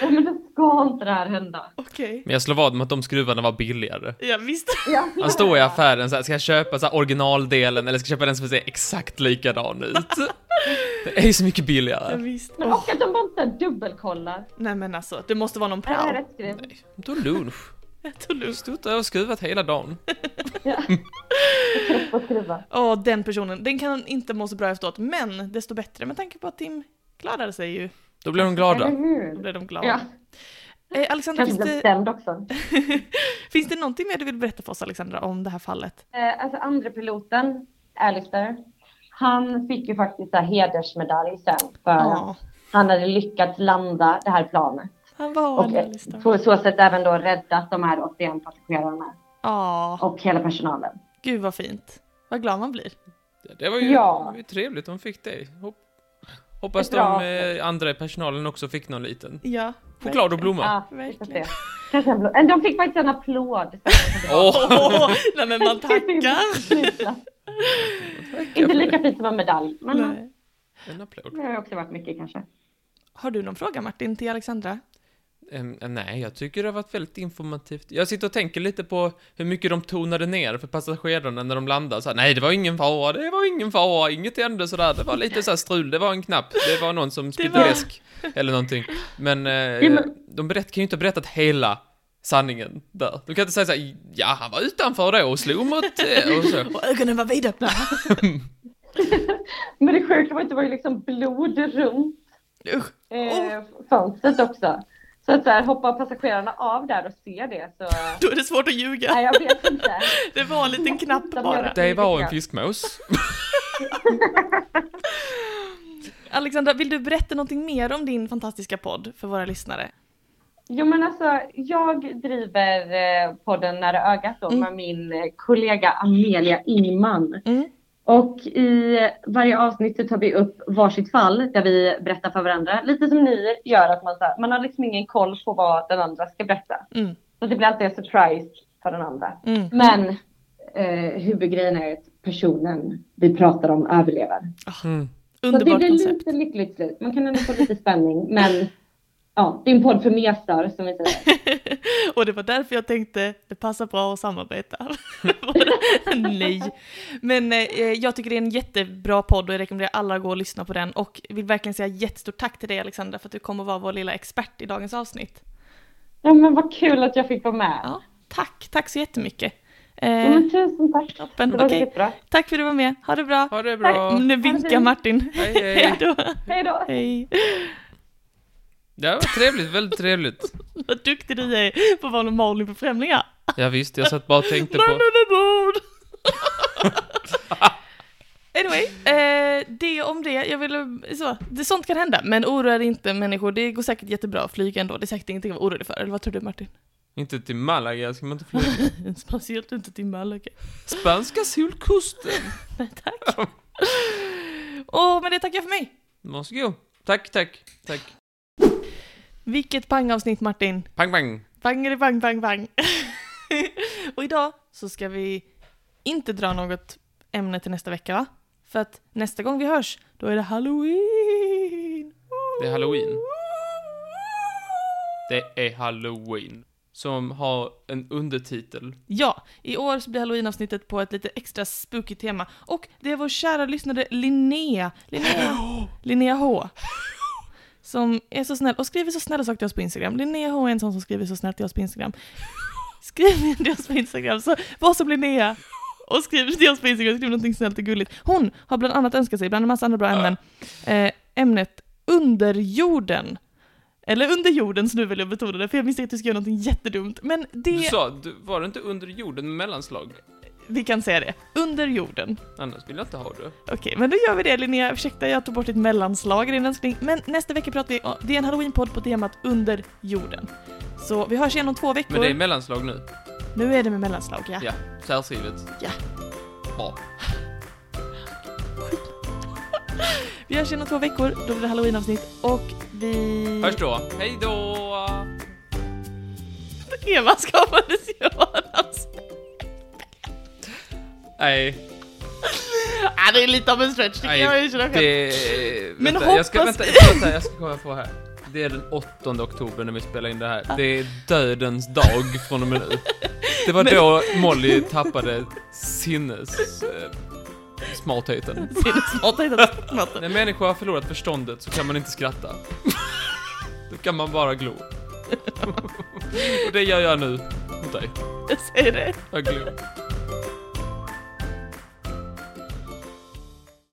A: Ja, men då ska inte det här hända.
B: Okej.
C: Men jag slår vad om att de skruvarna var billigare.
B: Ja, visst.
A: Ja.
C: Han står i affären så här, ska jag köpa så här originaldelen eller ska jag köpa den som ser exakt likadan ut? Det är ju så mycket
B: Ja,
C: billigare.
B: visst.
A: Men
B: Åh,
A: och att de bara inte dubbelkollar.
B: Nej men alltså, det måste vara någon
A: Är det här
B: prao.
A: rätt skriv?
C: De tog lunch.
B: Jag tog lugnt.
C: Stod där och skruvat hela dagen.
A: Tryck på skruva.
B: Åh, den personen. Den kan inte må så bra efteråt, men desto bättre med tanke på att Tim klarade sig ju.
C: Då blev de
A: Eller
C: glada.
B: Då
A: hur?
B: blev de glada.
A: Ja,
B: Eh, Alexandra,
A: kanske
B: finns
A: blev
B: det,
A: stämd också.
B: <laughs> finns det någonting mer du vill berätta för oss Alexandra om det här fallet?
A: Eh, alltså andra piloten, Alistair, han fick ju faktiskt så här hedersmedalj sen för att
B: Ja,
A: han hade lyckats landa det här planet.
B: han var
A: Och
B: en lista.
A: på så sätt även då räddat de här 81 passagerarna
B: Ja,
A: och hela personalen.
B: gud vad fint. Vad glad man blir.
C: Det var ju
A: Ja.
C: det var ju trevligt, de fick det. Hop- Hoppas
A: Ett bra
C: de eh, andra i personalen också fick någon liten.
B: Ja.
C: Choklad och blomma.
A: Ja, vi får
B: verkligen.
A: se. Kanske en blå- De fick faktiskt en applåd.
C: Åh!
A: <laughs>
C: <laughs>
B: Åh, nej men man tackar.
A: Inte lika fint som en medalj, men
B: Nej.
C: En applåd.
A: det har ju också varit mycket kanske.
B: Har du någon fråga Martin till Alexandra?
C: Em, eh, nej, jag tycker det har varit väldigt informativt. Jag sitter och tänker lite på hur mycket de tonade ner för passagerarna när de landade. Så här, nej, det var ingen fara, det var ingen fara, inget hände sådär. Det var lite så här strul, det var en knapp, det var någon som spillde
B: var-
C: läsk eller någonting. Men, eh,
A: men-
C: de berätt, kan ju inte ha berättat hela sanningen där. De kan inte säga så här, ja, han var utanför då och slog mot det och så.
B: Och ögonen
A: <laughs>
B: var vidöppna.
A: Men det sjuka var att det var ju liksom blod runt
B: Usch.
A: eh, fönstret också. Så att så här, hoppar passagerarna av där och ser det så...
B: Då är det svårt att ljuga.
A: Nej, jag vet inte.
B: Det var en liten knapp
A: De gör
B: bara.
C: Det var en fiskmås.
B: Alexandra, vill du berätta någonting mer om din fantastiska podd för våra lyssnare?
A: Jo men alltså jag driver eh, podden Nära ögat då
B: Mm.
A: med min eh, kollega Amelia Ingman.
B: Mm.
A: Och i varje avsnitt så tar vi upp varsitt fall där vi berättar för varandra. Lite som ni gör att man, så här, man har liksom ingen koll på vad den andra ska berätta.
B: Mm.
A: Så det blir alltid en surprise för den andra.
B: Mm.
A: Men eh, huvudgrejen är att personen vi pratar om överlever.
C: Mm.
A: Så det
B: Underbart
A: blir
B: koncept.
A: lite lyckligt slut. Man kan ändå få lite spänning men ja, det är en podd för mesar som vi säger.
B: Och det var därför jag tänkte, det passar bra
A: <laughs>
B: att samarbeta. Nej. Men eh, jag tycker det är en jättebra podd och jag rekommenderar alla att gå och lyssna på den. Och vill verkligen säga jättestort tack till dig Alexandra för att du kommer vara vår lilla expert i dagens avsnitt.
A: Ja men vad kul att jag fick vara med.
B: Ja, tack, tack så jättemycket.
A: Ja,
B: Eh,
A: men tusen tack.
B: toppen,
A: Det var
B: okej.
A: riktigt bra.
B: tack för att du var med, ha det bra.
C: Ha det bra.
B: Nu
A: Ha det
B: vinkar
A: fint.
B: Martin.
C: Hej,
B: <laughs>
C: hej.
B: då.
A: Hej då.
B: Hej.
C: Det var trevligt, väldigt trevligt.
B: Vad duktig du är på att vara en Malin för främlingar.
C: Ja, visst, jag satt bara och tänkte
B: Man
C: på...
B: on a board! <laughs> anyway, eh, det om det. Jag vill, så, det, sånt kan hända. Men oroa dig inte människor, det går säkert jättebra att flyga ändå. Det är säkert ingenting att vara orolig för. Eller vad tror du Martin?
C: Inte till Malaga, ska man inte flyga?
B: <laughs> Speciellt inte till Malaga.
C: Spanska solkusten.
B: Nej tack. Och med det tackar jag för mig.
C: Varsågod. Tack, tack, tack.
B: Vilket pangavsnitt Martin.
C: Pang, pang.
B: Bang, bang, bang, bang. <laughs> och idag så ska vi inte dra något ämne till nästa vecka va? För att nästa gång vi hörs, då är det halloween!
C: Det är halloween. Det är halloween. Som har en <gasps> undertitel.
B: Ja, i år så blir halloweenavsnittet på ett lite extra spooky tema. Och det är vår kära lyssnare Linnea, Linnea, Linnea H. Som är så snäll och skriver så snälla saker till oss på Instagram. Linnea H är en sån som skriver så snällt till oss på Instagram. Skriv till oss på Instagram, så var som Linnea. Och skriv till oss på Instagram, skriv någonting snällt och gulligt. Hon har bland annat önskat sig, bland en massa andra bra ämnen, eh, ämnet underjorden. Eller under jorden, så nu vill jag betona det, för jag misstänkte att du skrev någonting jättedumt. Men
C: Du
B: det...
C: sa, du, var det inte under jorden med mellanslag?
B: Vi kan säga det. Under jorden.
C: Annars vill jag inte ha det.
B: Okej, men då gör vi det Linnea. Ursäkta, jag tog bort ett mellanslag i din önskning. Men nästa vecka pratar vi om... Det är en halloweenpodd på temat under jorden. Så vi hörs igen om två veckor.
C: Men det är mellanslag nu.
B: Nu är det med mellanslag, ja.
C: Ja, särskrivet.
B: Ja.
C: Bra.
B: Vi hörs igen om två veckor, då blir det halloweenavsnitt och vi...
C: Hörs då. Hej då!
B: Eva skapades Jonas.
C: Nej,
B: ah, det är lite av en stretch, det kan
C: nej.
B: jag erkänna själv.
C: Det... Vänta,
B: Men
C: jag ska,
B: hoppas-
C: vänta, vänta, jag ska komma på här. Det är den 8 oktober när vi spelar in det här. Det är dödens dag från och med nu. Det var
B: Men-
C: då Molly tappade sinnes... Eh, smartheten.
B: Sinnesmat har hittat smarta.
C: När människor har förlorat förståndet så kan man inte skratta. Då kan man bara glo. Och det gör jag nu mot dig.
B: Jag säger det.
C: Jag glor.